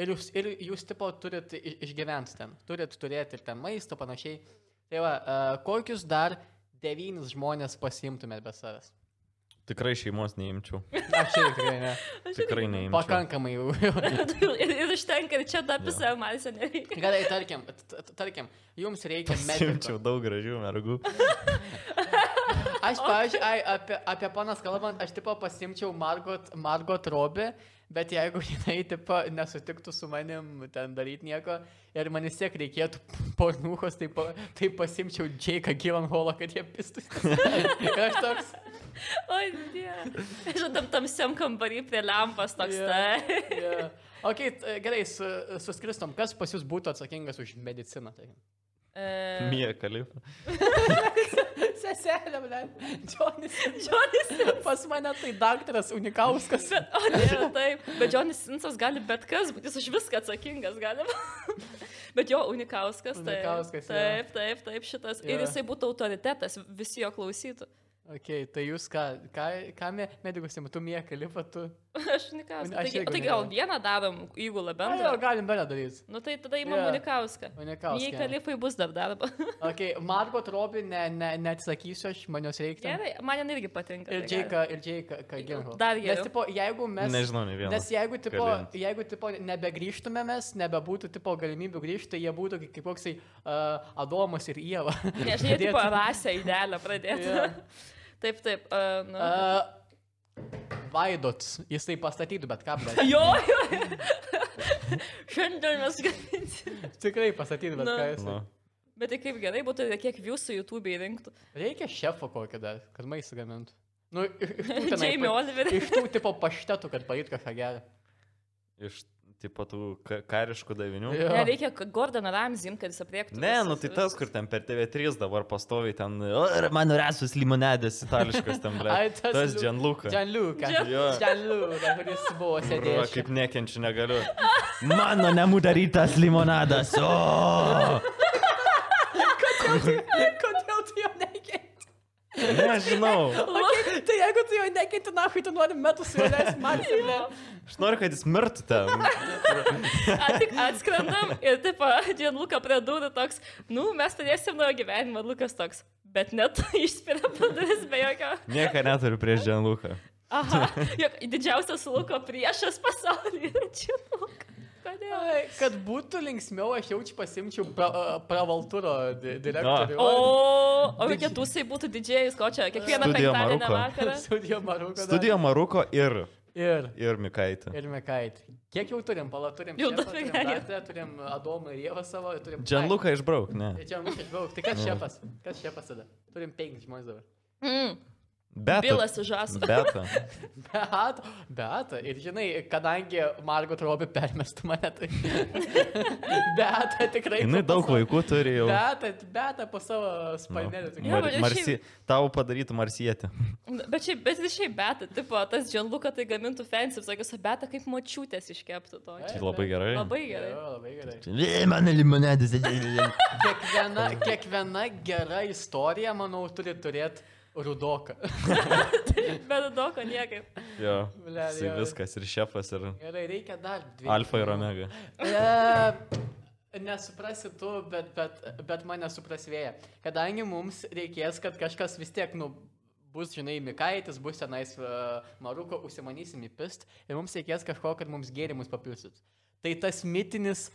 Ir jūs, ir jūs tipo turit i- išgyventi ten. Turit turėti ir ten maisto panašiai. Tai va, uh, kokius dar devynis žmonės pasiimtumėt be savęs?
Tikrai šeimos neimčiau.
Aš irgi tikrai ne.
Tikrai neimčiau.
Pakankamai jau. jau.
ir, ir užtenka, ir čia dar
Jo.
visą man seniai.
Gerai, tarkim, t- t- tarkim, jums reikia mediko.
Pasimčiau daug gražių mergų.
Aš, pavyzdžiui, ai, apie, apie panas kalbant, aš tipo pasimčiau Margot, Margot Robį, bet jeigu jinai tipo nesutiktų su manim ten daryti nieko ir man vis tiek reikėtų pornuhos, tai, po, tai pasimčiau Jake'ą Gilanholą, kad jie pistų. aš toks,
O, dieve. Žinau, tamsiam kambarį prie lempas toks. tai.
Jo.
Yeah.
yeah. okay, t- gerai, su, suskristom, kas pas jūs būtų atsakingas už mediciną? tarkim?
E,
Mija kalifa.
Seselė, ble. Džonis.
E, Jonis.
Pas mane tai daktaras Unikauskas.
Bet, o, dieve, taip. Bet Jonis Sinsas gali bet kas, bet jis už viską atsakingas gali. bet jo, unikauskas. Taip,
Unikauskas, jo.
Taip, taip, taip, šitas.
Jo.
Ir jisai būtų autoritetas, visi jo klausytų.
Ok, tai jūs ką, ką, ką me, medikus įmatu, mie kalifa, tu.
Aš unikauskas.
Aš
Taigi,
irgi
taigi gal
unikau.
vieną davom įgulą
Na, jau
bendrą.
galim bele daryti.
Nu tai tada įmam
Jo.
unikauską. Jei
Unikauskas.
kalifai bus dar darbo.
Ok, Margot Robbie, ne, ne, neatsakysiu, aš manios reikia.
Gerai, man jin irgi patinka.
Ir
tai gali.
Džeika, ir Džeika, ką giliau.
Dar
Nes,
geriau.
tipo, jeigu mes...
Nežinau, ne vieną.
Nes jeigu, tipo,
Kalėjant.
jeigu tipo, nebegrįžtume mes, nebebūtų tipo, galimybių grįžti, jie būtų kaip kaip koksai uh, Adomas ir Ieva.
Nežinai,
Pradėti.
tipo rasę idealią pradėti.
Jo.
Taip, taip. Uh, nu.
Uh, Vaidot, jis tai pastatytų, bet ką, bet.
Jo, jo. Šiandien mes gaminsim.
Tikrai pastatytų, bet
Nu.
ką jis.
Nu,
Bet tai kaip gerai būtų, kiek jūsų YouTube įrinktų.
Reikia šefo kokį dar, kad maistą gamintų. Nu, iš iš tų, tenai,
Jamie Oliverį.
iš tų tipo paštetų, kad paėtų kažką gerą.
iš tipo tų ka- kariškų davinių.
Jo.
Ne, reikia k- Gordoną Ramzin, kad jis apriektų.
Ne, nu tai tas, kur ten per TV3 dabar pastovi ten, "O, ir mano rasus limonadės itališkas ten,
Ai,
ble.
tas
Tas
Lu-
Džanluka.
Džanliuka.
Jo.
Džanliuka, kuris buvo
Bro,
sėdėjęs.
kaip nekenčiu, negaliu. Mano namų darytas limonadas. O!
Kodėl tu jo nekenti?
Nežinau.
Okay, tai jeigu tu jo nekenti, na, kai tu nori metus jau leisti man.
Aš noriu, kad jis mirtų ten.
A, tik atskrendam ir taip, Džin Luka prie durų toks, nu mes turėsim naują gyvenimą, Lukas toks. Bet net išspiria padaris be jokio.
Nieko neturiu prieš Džanluką.
Aha, jok, didžiausias Luko priešas pasaulyje. Čia Luka. Kodėl?
Kad būtų linksmiau, aš jaučiu pasimčiau pra, a, pravalturo di direktorių.
O, o kokie tūsai būtų didžiai, ko čia, kiekvieną
Studio
penktadienį
Maruko.
vakarą.
Studijo Maruko. dar.
Studijo Maruko ir,
Ir.
ir Mikaitė.
Ir Mekaitė. Kiek jau turim, pala, turim.
Jau
šefą,
daug
turim,
Mekaičių.
Dantę, turim Adomą ir Jėvą savo. ir Turim...
Džanluką išbrauk, ne.
Tai čia mums išbrauk. Tai kas šefas? Kas šefas tada? Turim penkis žmonės dabar.
Mm,
Beta.
Bilas užasų.
Beta.
Bet, bet, ir žinai, kadangi Margot Robi permestų mane, tai... bet, tikrai...
Jis daug vaikų turi jau. Nu,
Bet, bet, po savo sparnelį.
Mar,
tokia.
bet šiaip-
marsi, tau padarytų marsietį.
Bet šiaip, bet ir šiaip beta, tipo, tas Džanluka tai gamintų fansim, sakė, su beta kaip močiutės iškeptų to.
Ai.
Tai labai gerai.
Labai
Jo,
gerai.
Labai gerai.
E, Mano limonadis.
Kiekviena, kiekviena gera istorija, manau, turi turėti rudoką.
Bet daug ko niekaip.
jo.
Blet,
Jisai
jo.
viskas ir šefas ir
Gerai, reikia dar dvi.
alfa ir omega.
E, Nesuprasi tu, bet, bet, bet mane suprasvėja. Kadangi mums reikės, kad kažkas vis tiek, nu, bus, žinai, Mikaitis, bus tenais uh, Maruko, užsimanysim įpist ir mums reikės kažko, kad mums gėrimus papilsit. Tai tas mitinis,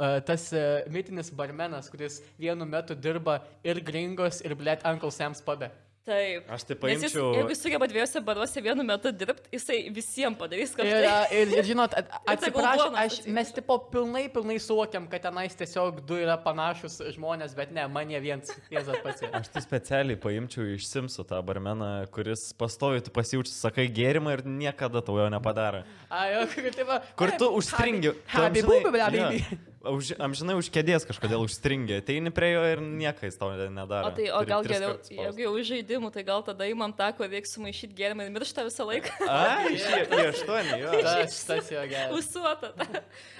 uh, tas uh, mitinis barmenas, kuris vienu metu dirba ir gringos, ir blėt Uncle Sam's pubė.
Taip.
Aš tai
Nes jis,
paimčiau.
jeigu jis sugeba dviejose baruose vienu metu dirbti, jisai visiems padarys
Ir,
kažką.
a, ir, ir žinot, at- atsiprašau,
duonos
aš,
atsiprašau.
mes tipo pilnai, pilnai suvokiam, kad tenais tiesiog du yra panašus žmonės, bet ne, man jie viens, Jėzas pats. yra.
Aš tai specialiai paimčiau iš Simsų tą barmeną, kuris pastovi, tu pasijauči, sakai gėrimą ir niekada tau jo nepadaro.
Ai, o kur tai va?
Kur tu užstringi? tu
Habi
amžinai-
bubi, bla,
jo,
baby.
Už, amžinai už kėdės kažkodėl užstringi, ateini prie jo ir niekais tau nedaro.
O tai, o
Turi
gal
tris
geriau,
kartus spaust.
jeigu jau iš žaidimų, tai gal tada įmam tą, kur reikia sumaišyti gėrimą ir miršta visą laiką.
A, iš į aštuonį, jo.
Tas, tas jo geras.
Usuota.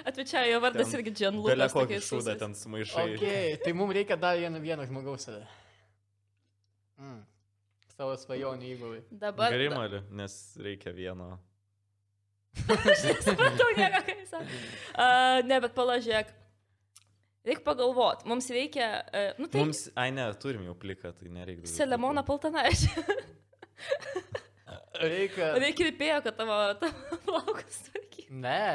Atvičiai, jo vardas
Ten
irgi Džanluka.
Belia kokį šūdą ten sumaišai.
Okay, tai mums reikia dar vieno, vieno žmogaus tada. Mm. Savo svajonių įgulai.
Dabar.
Gerimalį, nes reikia vieno.
Supratau, nieko, ką jis sakė. Uh, ne, bet palažėk. Reikia pagalvot. Mums reikia. Uh, nu, tai Mums...
Mums, ai ne, turim jau pliką, tai nereikia. daugiau
Selemoną
pliko.
Paltanaitį.
Reikia.
Reikia ripėjo, kad tavo, tavo plaukas tvarkytų.
Ne,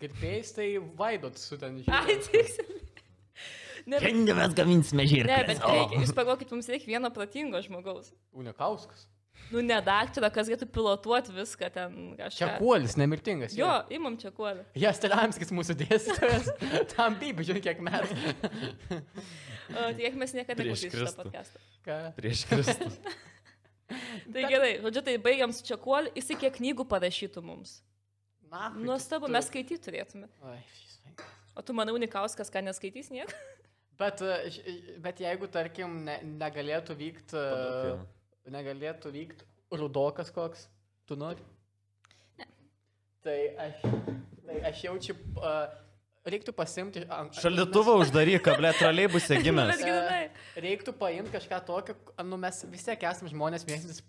kirpėjais tai vaidot su ten
Ai,
žinai.
tiksliai. Ne, bet,
Šiandien mes gaminsime žirklę.
ne, bet reikia, jūs pagalvokit, mums reikia vieno protingo žmogaus.
Unikauskas.
Nu, ne daktarą, kas galėtų pilotuoti viską ten
Čia
kažką.
kuolis, nemirtingas.
Jo, imam čia kuolį.
Jas Telamskis mūsų dėstytojas. Tam taip, žiūrėk, kiek metų.
Tiek tai mes niekada
Prieš
neklausysime šitą
Kristų.
podcastą.
Ką?
Prieš Kristus.
Tai gerai, žodžiu, tai baigiam su čia kuolį, jisai kiek knygų parašytų mums.
Na,
Nuostabu, mes skaityti turėtume.
Oi, šis vaikas.
O tu, manau, Nikauskas, ką neskaitys nieko?
Bet, e, ž- e, bet jeigu, tarkim, ne, negalėtų vykti. E,
Pedofilai.
Negalėtų vykti rudokas koks, tu nori? Tai aš, tai aš jaučiu, uh, reiktų pasimti. an-
Šaldytuvą uždaryk, kablė, traliai bus
Bet
gimęs.
gerai.
Reiktų paimti kažką tokio, k- nu mes vis tiek esame žmonės mėgstantis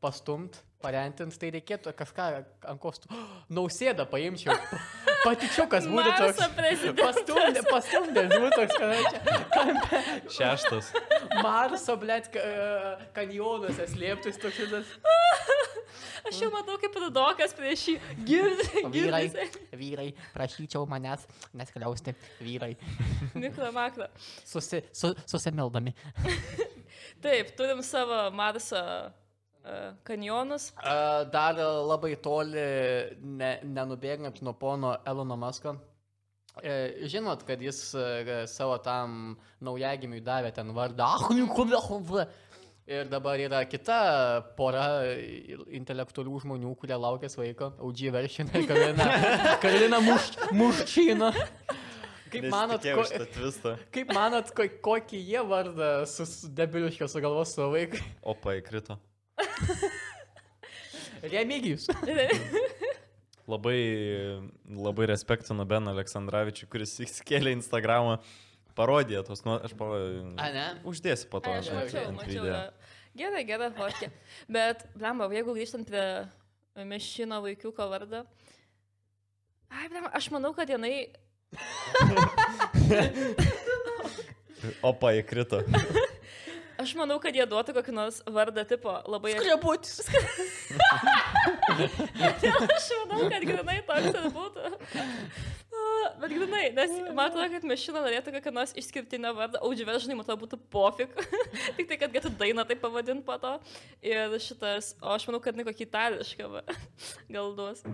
pastumti, parentinti, tai reikėtų kažką ant kostų. Nausėdą paimčiau. Patičiukas būtų toks.
Marso prezidentas.
Pastumdė, pastumdė, būtų toks, kad
Šeštas.
Marso, blėt, e, kanjonuose slėptis toks žodas.
Aš jau matau, kaip rudokas prieš jį. Girdžiu,
Vyrai,
girdžiu.
vyrai, prašyčiau manęs neskliausti, vyrai.
Mikro makro.
Susi, su, susimildami.
Taip, turim savo Marso uh, kanjonus.
A, Dar e, labai toli ne, nenubėgant nuo pono Elono Masko. E, Žinot, kad jis e, savo tam naujagimiui davė ten vardą. Ahniukuliahov. Ir dabar yra kita pora e, intelektualių žmonių, kurie laukia vaiko. Audžiai veršinė, Karina, Karina muš, Muščina. Kaip manot, ko,
tvistą?
kaip manot ko, kokį jie vardą su su debiliškio sugalvos savo vaikui?
Opa, įkrito.
Remigijus.
Labai, labai respektinu Ben Aleksandravičiu, kuris įskėlė Instagramą parodiją tos, nu, aš
A,
pavadinau.
ne?
Uždėsiu po to.
Ai, Aš
žinau,
žinai,
mačiau,
ant
mačiau.
video.
jo. Gerai, gerai, Horkė. Bet, blemba, jeigu grįžtant prie Mešino vaikiuko vardą. Ai, blemba, aš manau, kad jinai
Opa, įkrito.
Aš manau, kad jie duotų kokį nors vardą tipo labai...
Skrebutis.
Tai Aš manau, kad grinai toks ir būtų. A, Bet grinai, nes man atrodo, kad mašina norėtų kokį nors išskirtinę vardą, audživežnai, matau, būtų pofik. Tik tai, kad galėtų dainą taip pavadinti po to. Ir šitas, o aš manau, kad ne kokį itališką va. gal duos.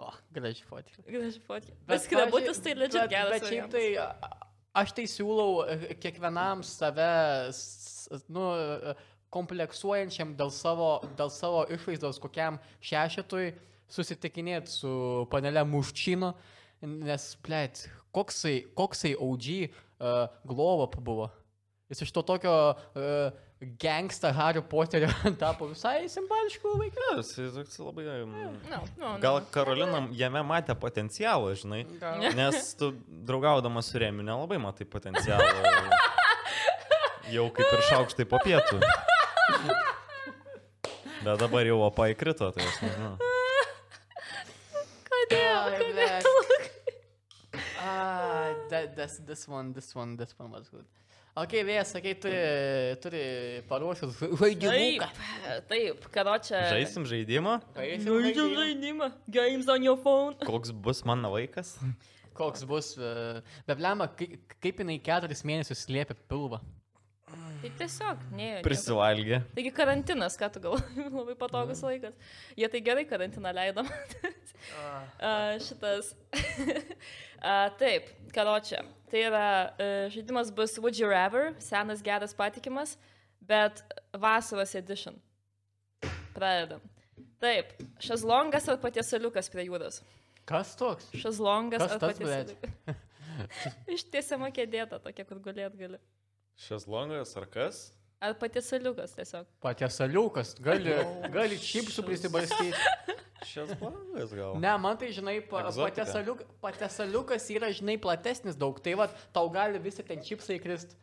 O, graži fotka.
Gražiai fotkė. Bet skrebutis tai ledžia
bet-
geras.
Bet šiaip
variantas.
tai a- aš tai siūlau e, kiekvienam save, s- nu, e, kompleksuojančiam dėl savo, dėl savo išvaizdos kokiam šešetui susitikinėti su panele Muščino, nes, plėt, koksai, koksai OG uh, Globop buvo. Jis iš to tokio uh, gangsta Harry Potterio tapo visai simbolišku vaikinu.
Jo, jisai Nu, toks labai... mm,
No, no, no.
Gal Karolina jame matė potencialą, žinai. Nes tu draugaudamas su Remiu nelabai matai potencialą. Jau kaip ir šaukštai po pietų. Bet dabar jau opa įkrito, tai aš nežinau.
Ai,
Kodėl?
blet.
Kodėl?
Ah, that, that's this one, this one, this one was good. Ok, vėjas, sakai, turi, turi paruošęs
Taip,
žaidimuką.
taip, karo čia.
Žaisim žaidimą?
Paeisim
Žaidžiam
žaidimą.
žaidimą. Games on your phone.
Koks bus mano vaikas?
Koks bus, e, beblema, kaip, kaip jinai keturis mėnesius slėpė pilvą.
Tai tiesiog, ne.
Prisivalgė.
Taigi karantinas, ką tu galvoji, labai
Mhm.
patogus laikas. Jie tai gerai karantiną leido. A, Šitas. A, Taip, karočią. Tai yra e, žaidimas bus Would You Rather, senas geras patikimas, bet vasaros edition. Pradedam. Taip, šazlongas ar patiesaliukas prie jūros?
Kas toks?
Šazlongas
Kas
ar
tas, blet?
patiesaliukas? Ištiesiama kėdėta tokia, kur gulėt gali.
Šias longas ar kas?
Ar patiesaliukas tiesiog?
Paties aliukas, gali, gali čipsų prisibarstyti.
Šias longas gal.
Ne, man tai, žinai, pa,
Egzotika.
paties aliuk- paties aliukas yra, žinai, platesnis daug, tai va, tau gali visi ten čipsai krist.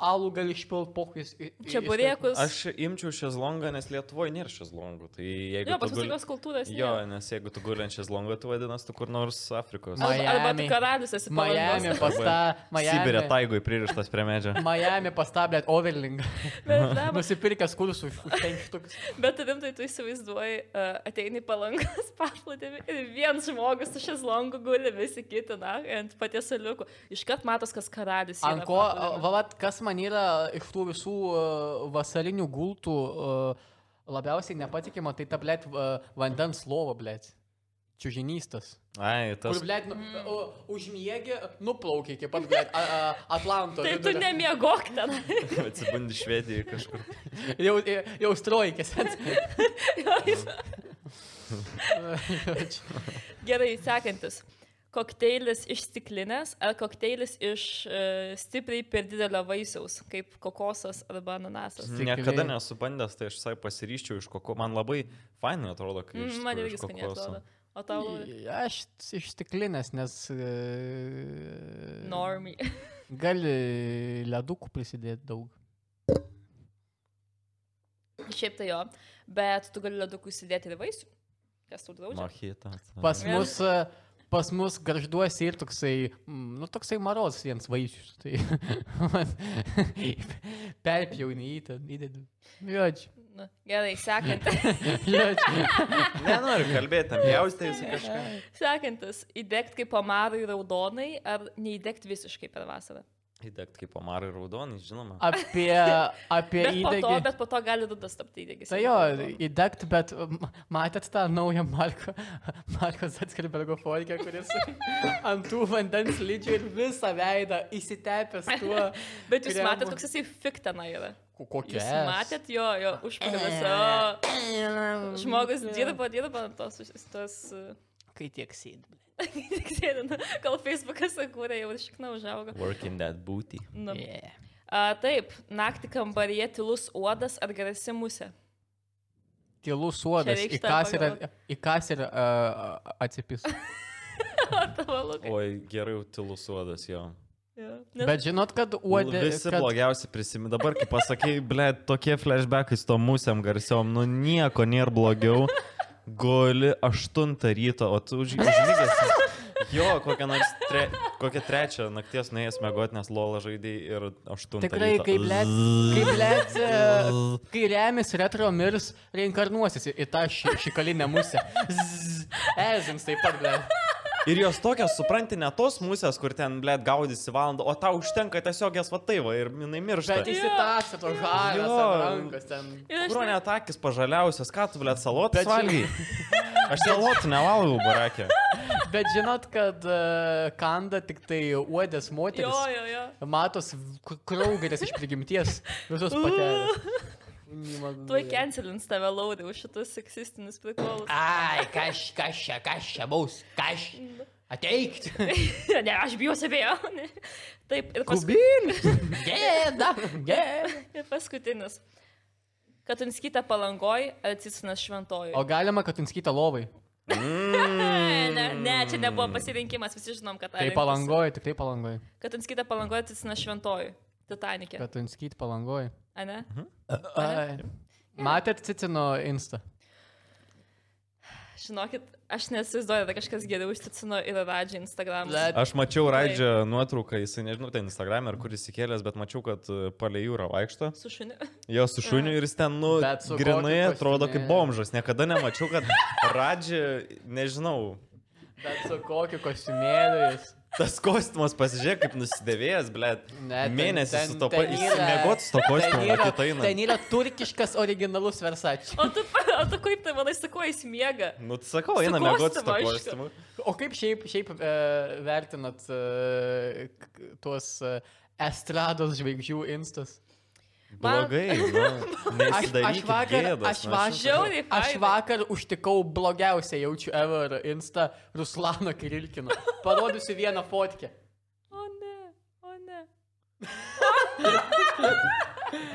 alų gali išpilti pokus.
Čia burėkus.
Aš imčiau šezlongą, nes Lietuvoje nėra šezlongų. Tai jeigu...
Jo,
tu
pas mus
guli-
tokios kultūros.
Jo,
nėra.
nes jeigu tu guli ant šezlongo, tu vadinasi tu kur nors Afrikos.
Ai,
Arba- Arba
Miami.
tu karalius esi
Miami
palangos.
pas tą.
Sibirė
Miami,
taigui pririštas prie medžio.
Miami pastablėt overlingą.
Bet, ne,
Nusipirkęs kursus už 5 štukus.
bet rimtai tu įsivaizduoji, uh, ateini į palangos paplūdimį ir vienas žmogus su šis longu guli, visi kiti, na, ant paties aliukų. Iškart matos, kas karalius. yra
Ant ko,
paplūdimy.
vavat, kas man yra iš tų visų a, vasarinių gultų a, labiausiai nepatikima, tai ta, blėt, va- vandens lova, blėt. Čiužinystas.
Ai,
Kur,
tas...
blėt, nu,
Mm.
o, užmiegi, nuplaukia iki pat, blėt, a, a, Atlanto.
Tai tu
vidurio.
nemiegok ten.
Atsibundi Švedijoje kažkur.
Jau, e, jau strojkis.
Gerai, sekantis. Kokteilis iš stiklinės ar kokteilis iš uh, stipriai per didelio vaisiaus, kaip kokosas arba ananasas.
Stikliai.
Niekada nesu bandęs, tai aš visai pasiryščiau iš kokio. Man labai fainai atrodo, kai iš,
Mm, Man
tikrųjų
irgi
iš
skaniai atrodo.
kokoso.
O tau Laurai?
Aš iš stiklinės, nes e,
normiai.
gali ledukų prisidėti daug.
Šiaip tai jo, bet tu gali ledukų įsidėti ir vaisių. Kas tu draudžia?
Machita.
Pas
Vėl.
mus, e, pas mus garžduosi ir toksai, mm, nu toksai maros vienas vaisius. Tai man perpjauni į tą, įdedu. Juodžiu.
Nu, gerai, sekantis.
Juodžiu.
Nenoriu kalbėti, jaustai visi kažką.
sekantis. Įdegt kaip pomarai raudonai ar neįdegt visiškai per vasarą.
Įdegt kaip pomarai raudonai, žinoma.
Apie, apie
Bet po, to,
įdegį.
bet po to gali rudas tapti įdegis.
Tai jo, įdegt, bet mm, matėt tą naują Marko, Marko Zatskerbergo forkę, kuris ant tų vandens lydžių ir visą veidą įsitepęs tuo.
Bet jūs
kremu.
matėt, koks jisai fiktena yra.
Ko-
Jūs
Kokia?
matėt jo, jo užpakalis. Žmogus dirba, dirba ant tos, už- tos uh,
Kai tiek sėdi.
sėdina, kol Facebookas sukūrė, jau ir šikna užaugo.
Working that booty.
Nu.
Yeah.
A, taip, naktį kambaryje tylus uodas ar garsi musė.
Tylus suodas, į
reikš tą
kaserį, į kaserį uh, atsipis.
O tavo lukai.
Oi, gerai, jau tylus uodas jo. Nu,
Jo. Nes
Bet žinot, kad uodė.
Visi
kad,
blogiausi prisimeni. Dabar, kai pasakai, ble, tokie flashbackai su tom musiam garsiom, nu nieko nėra blogiau. Guli 8 ryto, o tu už- užmigęs. Jo, kokią nors tre, kokią trečią nakties nuėjęs mėgoti, nes lola žaidėjai ir 8
Tikrai,
ryto.
kai blėt, kai blėt, kai remis retro mirs, reinkarnuosis į į tą ši, šikalinę musę. Zzz, Ezins taip pat, blėt.
Ir jos tokios, supranti, ne tos musės, kur ten, ble, gaudysi valandą, o tau užtenka tiesiog jas vataiva ir jinai miršta.
Bet įsitąsia to žalio
Jo.
rankas ten.
Ir aš
Kur net akis pažaliausias, ką tu, ble, salotas
Bet čia-
valgai? Aš salotų nevalgau, barakė.
Bet žinot, kad e, kanda tik tai uodės
Jo,
moteris.
jo, jo.
Matos kraugeris iš prigimties. Visos patelės. Nimadu.
Tuoj cancelins tave laudė už šitus seksistinius prikolus.
Ai, kas, kas čia, kas čia bus, kas čia. Ateikt.
ne, aš bijosiu abejo. Ne. Taip, ir, pasku...
Kubinis. Gėda. Gėda.
ir paskutinis. Katunskyta palangoj, atsisinas šventojui.
O galima, kad inskyta lovai.
Ne, ne, ne, čia nebuvo pasirinkimas, visi žinom, kad
Mm. Tai palangoji, tikrai palangoji.
Katunskyta palangoj, atsisinas šventojui. Titanikė.
Kad Mhm. inskyta palangoji.
A ne?
Ai. Matėt Cicino insta.
Žinokit, aš nesuizduoju, kad kažkas geriau užticino ir radžį Instagram.
Blet.
Aš mačiau Raidžio nuotrauką, jisai nežinau, ten Instagram ar kur jis įkėlęs, bet mačiau, kad e, palei jūrą vaikšto.
Su šuniu.
Jo su
Mm.
šuniu ir jis ten, nu,
Bet su
grinai
kokiu
atrodo kaip
kostiumėliu.
bomžas. Niekada nemačiau, kad Raidžio, nežinau,
Bet su kokiu kostiumėliu jis.
tas kostiumas pasižiūrėk, kaip nusidėvėjęs, ble.
Ne, ten-
Mėnesį
ten-
su to
ten
pat
yra-
įsimiegot su to
Ten
kostiumu,
yra,
kad tai
ten
eina.
yra turkiškas originalus versačius.
O tu, o tu kaip tai manai, su kuo jis miega?
Nu, tai sakau,
Su
eina miegot su to
kostiumu, aišku.
kostiumu.
O kaip šiaip, šiaip e, vertinat e, k- k- tuos e, estrados žvaigždžių instas?
Man-
Blogai, nu,
Aš, aš
nesidarykit
vakar,
gėdos,
aš,
nu,
vakar,
Žiauriai
aš
fainai.
vakar užtikau blogiausią jaučiu ever insta Ruslano Kirilkino. Parodysiu vieną fotkę.
O ne, o ne.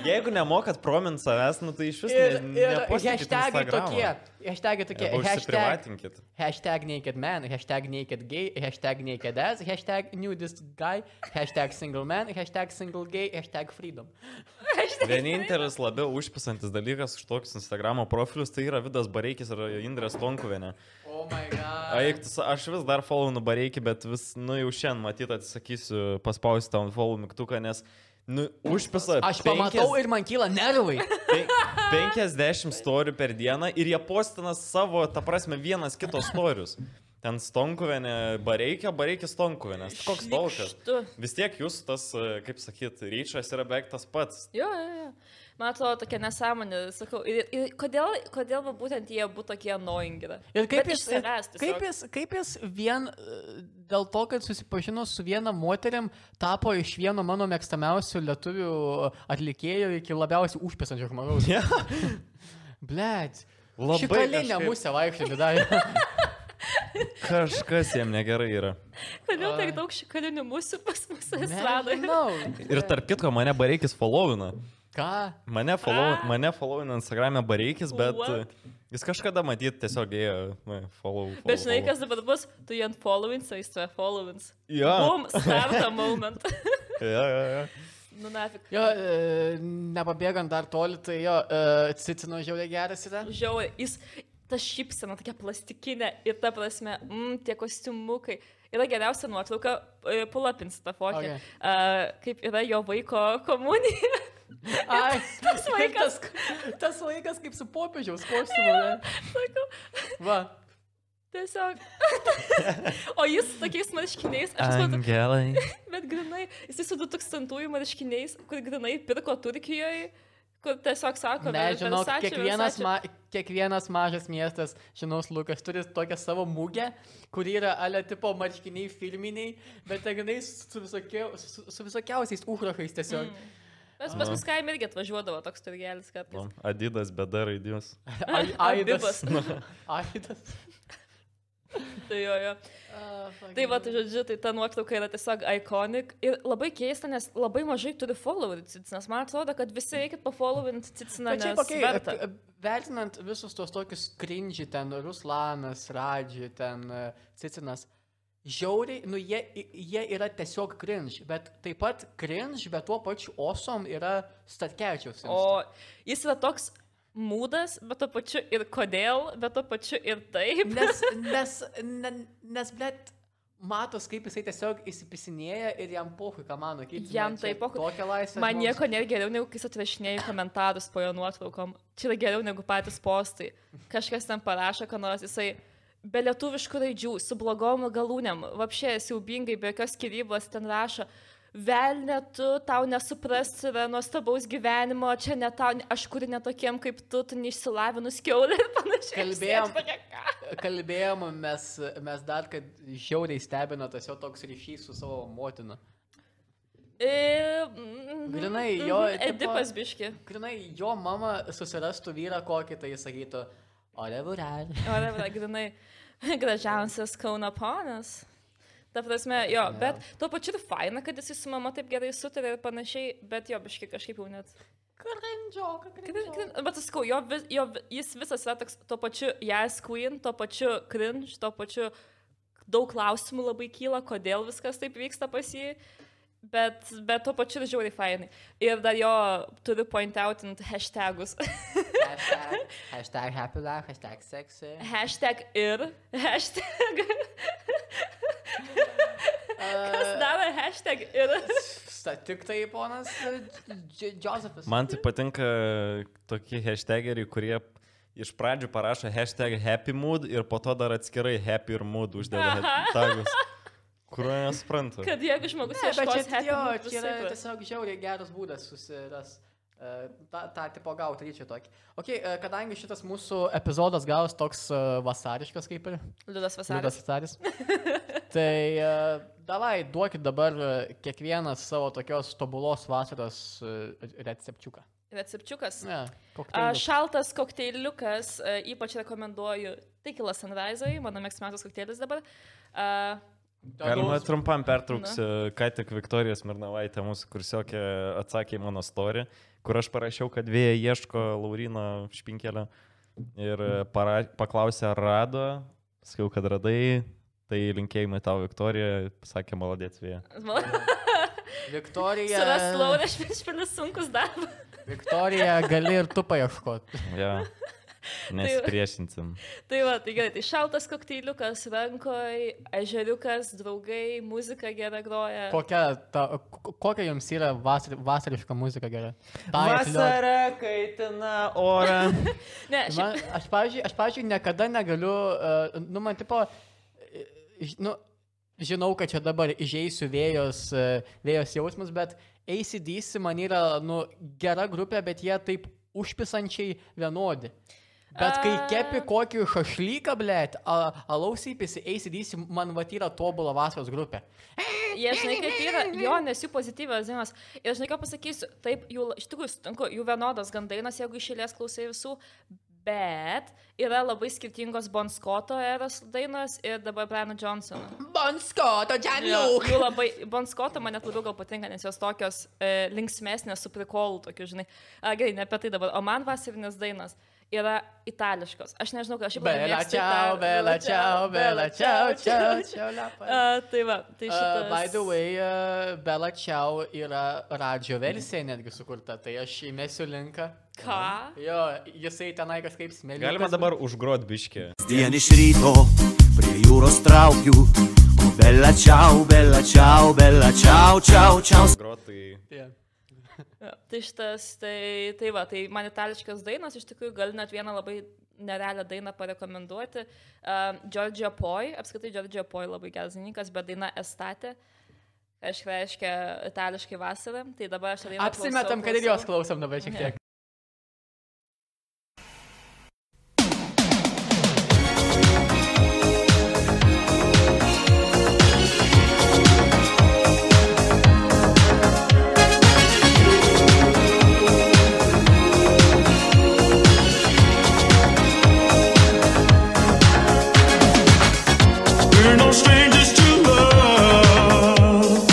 Jeigu nemokat promint savęs, nu tai iš vis
Ir,
ne-
ir
nepostinkit
hashtagai
Instagramo.
tokie. Hashtagai tokie.
Arba
Hashtag,
užsiprivatinkit.
hashtag naked man, hashtag naked gay, hashtag naked ass, hashtag nudist guy, hashtag single man, hashtag single gay, hashtag freedom.
Vienintelis labiau užpisantis dalykas už tokius Instagramo profilius tai yra Vidas Bareikis ir Indrės Tonkuvienė.
Oh my god.
Aik, tu sa- aš vis dar follow nubareikį, bet vis, nu jau šiandien matyt atsisakysiu paspausti tą follow mygtuką, nes, nu, užpisa.
Aš pamatau ir man kyla nervai.
50 storių per dieną ir jie postina savo, ta prasme, vienas kitos storius. Ten Stonkuvienė, Bareikė, Bareikė Stonkuvienė. Koks laukas.
Tu.
Vis tiek jūs tas, e, kaip sakyt, ryčas yra beveik tas pats.
Jo, jo, jo. Man atrodo, tokia nesąmonė, sakau. Ir, ir kodėl, kodėl va būtent jie būtų tokie annoying yra?
Ir kaip
Bet
jis,
iš savęs tiesiog.
kaip, jis, kaip jis vien e, dėl to, kad susipažino su viena moterim, tapo iš vieno mano mėgstamiausių lietuvių atlikėjų iki labiausiai užpisančio žmogaus.
Ja.
Blet.
Labai
Šikalinė
kažkaip-
musė vaikščioti davė.
Kažkas jiem negerai yra.
Kodėl tiek
Ai.
daug šikalinių musių pas mus estradoje?
Ir tarp kitko, mane Bareikis followina.
Ką?
Mane, follow,
A.
mane followina Instagram'e Bareikis, bet
What?
e, jis kažkada matyt tiesiog ėjo na, follow. follow
Bet žinai,
follow.
kas dabar bus, tu jį unfollowins, o jis tave followins.
Jo,
Bum, start the moment.
jo, jo, jo.
nu, nafik.
Jo, e, nepabėgant dar toli, tai jo, e, cicino žiauriai geras yra.
Žiauriai, jis, ta šypsena tokia plastikinė ir ta prasme, mm, tie kostiumukai. Yra geriausia nuotrauka, e, pulapins tą fokę,
Okay.
okay. uh, kaip yra jo vaiko komunija.
Ai, tas
vaikas.
Tas, tas vaikas kaip su popiežiaus kostiumu. ne?
Sakau,
Va.
tiesiog. o jis su tokiais marškiniais, aš suprantu,
Angelai.
bet grinai, jis su 2000-ųjų marškiniais, kur grinai pirko Turkijoje, kur tiesiog sako,
Nežinau,
Versace,
kiekvienas,
Versace.
ma, kiekvienas mažas miestas, žinos Lukas, turi tokią savo mugę, kuri yra ale tipo marškiniai filminiai, bet tenai su, visokie, su, su visokiausiais užrakais tiesiog. Mm.
Mes pas
Aha.
mus kaime irgi atvažiuodavo toks turgelis, kad...
Adidas beda raidys.
Aidas.
Abibas.
Aidas.
Tai jo, jo. Tai va, tai žodžiu, tai ta nuotrauka yra tiesiog iconic ir labai keista, nes labai mažai turi followerių Cicinas. Man atrodo, kad visi reikėtų pafollowinti Ciciną.
Tačiau,
nes verta.
okay, vertinant visus tos tokius krinžį, ten Ruslanas, Radži, ten e, Cicinas, žiauriai, nu jie, jie yra tiesiog krinž, bet taip pat krinž, bet tuo pačiu osom yra Statkevičiaus.
O jis yra toks mūdas, bet to pačiu ir kodėl, bet to pačiu ir taip.
Nes, nes, ne, nes blet, matos, kaip jisai tiesiog įsipisinėja ir jam pohui, ką mano, kaip
Jam tai pochui.
Tokia laisvė.
Man
žmogus.
nieko nėra geriau, negu kai jis atrašinėja į komentarus po jo nuotraukom. Čia yra geriau negu patys postai. Kažkas ten parašo, ką nors jisai be lietuviškų raidžių, su blogom galūnėm, vapšė siaubingai, be jokios skirybos ten rašo. Velne tu, tau nesuprasti yra nuostabaus gyvenimo, čia ne tau, aš kuri netokiem kaip tu, tu neišsilavinus keulė ir panašiai.
Kalbėjom.
Aš tokia, ką?
Kalbėjom mes, mes dar, kad žiauriai stebino tas jo toks ryšys su savo motina.
E, mm,
Grynai
mhm,
jo,
mhm,
tipo-
Edipas biški.
Grinai, jo mama susirastų vyrą kokį, tai jis sakytų, ole burel.
O dabar, grinai, gražiausias Kauno ponas. Ta prasme, jo,
Jo.
yeah. bet tuo pačiu ir faina, kad jis su mama taip gerai sutarė ir panašiai, bet jo, biškai kažkaip jau net.
Krindžioka,
Krin- krin- Bet aš sakau, jo, vis- jo, vi- jis visas yra toks, tuo pačiu jas yes, queen, tuo pačiu cringe, tuo pačiu daug klausimų labai kyla, kodėl viskas taip vyksta pas jį. Bet, bet tuo pačiu ir žiauriai fainai. Ir dar jo turiu point outinti hashtagus.
Hashtag, hashtag happy life, hashtag sexy.
Hashtag ir. Hashtag. Kas
Uh,
daro hashtag ir.
sta- tik tai ponas e, Dž- Josephas.
Man
Mhm.
tai patinka tokie hashtageriai, kurie iš pradžių parašo hashtag happy mood ir po to dar atskirai happy ir mood uždeda
Aha.
tagus, kurio nesuprantu.
Kad jeigu žmogus
Ne, bet
ieškos
čia,
happy
jo,
mood
čia yra
visaip.
tiesiog žiauriai geras būdas susiras. e, Ta, ta tipo gauti ryčio tokį. Ok, e, kadangi šitas mūsų epizodas gavos toks e, vasariškas kaip ir.
Liudas vasaras.
Liudas Vasaris. tai uh, davai, duokit dabar e, kiekvienas savo tokios tobulos vasaros uh, recepčiuką.
Recepčiukas.
Ne,
A,
kokteilius.
Šaltas kokteiliukas, e, a, ypač rekomenduoju Tequila Sunrise, mano mėgstamiausias kokteilis dabar. A,
Galima
Toliau-
trumpam pertrauksiu, ką tik Viktorija Smirnavaitė, mūsų kursiokė, atsakė į mano storį, kur aš parašiau, kad vėja ieško Laurino Špinkelio ir
Mhm.
para, paklausė, ar rado, sakiau, kad radai, tai linkėjimai tau Viktorija, sakė, maladėts vėja.
Viktorija.
Savęs laurė švenčpilis sunkus darbas.
Viktorija, gali ir tu paieškoti.
Ja. Nesipriešinsim.
Tai va, tai gerai, tai šaltas kokteiliukas rankoje, ežeriukas, draugai, muzika gera groja.
Kokia, ta, ko- kokia jums yra vasar, vasariška muzika gera? Tai
Vasara kaitina orą.
Ne, šiaip,
Man, aš, pavyzdžiui, aš, pavyzdžiui, niekada negaliu, uh, nu, man tipo, e, ž- nu, žinau, kad čia dabar įžeisiu vėjos, uh, vėjos jausmus, bet ACDC man yra, nu, gera grupė, bet jie taip užpisančiai vienodi. Bet kai
A.
kepi kokį šašlyką, blėt, alausypisi, ACDC man vat yra tobulą vasaros grupę.
jie žinai, kaip yra, jo, nes jų pozityvios dienos. Ir žinai, ką pasakysiu, taip, jų, la- iš tikrųjų, sutinku, jų vienodas gandainas, jeigu išėlės klausai visų, bet yra labai skirtingos Bon Scotto eros dainos ir dabar Brian Johnsono.
Bon Scotto, Jan
Jo, Jų labai, Bon Scotto man net labiau gal patinka, nes jos tokios e, linksmėsnės su prikolu, tokiu, žinai. A, gerai, ne apie tai dabar, o man vasarinės dainos yra itališkos. Aš nežinau, ką aš jau
Bela čiau, bela čiau, bela čiau, čiau, čiau, lepa.
A, tai va, tai šitas.
Uh, by the way, uh, Bela Čiau yra radio versija netgi sukurta, tai aš įmesiu linką.
Ką?
Jo, jisai tenai kažkaip smėlis.
Galima dabar užgrot biškį.
Dien iš ryto prie jūros traukiu. O Oh, bella ciao, bella ciao, bella ciao, ciao, ciao.
Grot, tai...
Yeah.
Jo, Tai šitas, tai, tai va, tai man itališkas dainos, iš tikrųjų galiu net vieną labai nerealią dainą parekomenduoti. Um, Giorgio Poi, apskritai Giorgio Poi labai geras dainininkas, bet daina Estate. Aš reiškia itališkai vasarą, tai dabar aš tą dainą klausau,
Apsimetam, kad ir
klausau.
jos klausom dabar šiek tiek.
We're no strangers to love.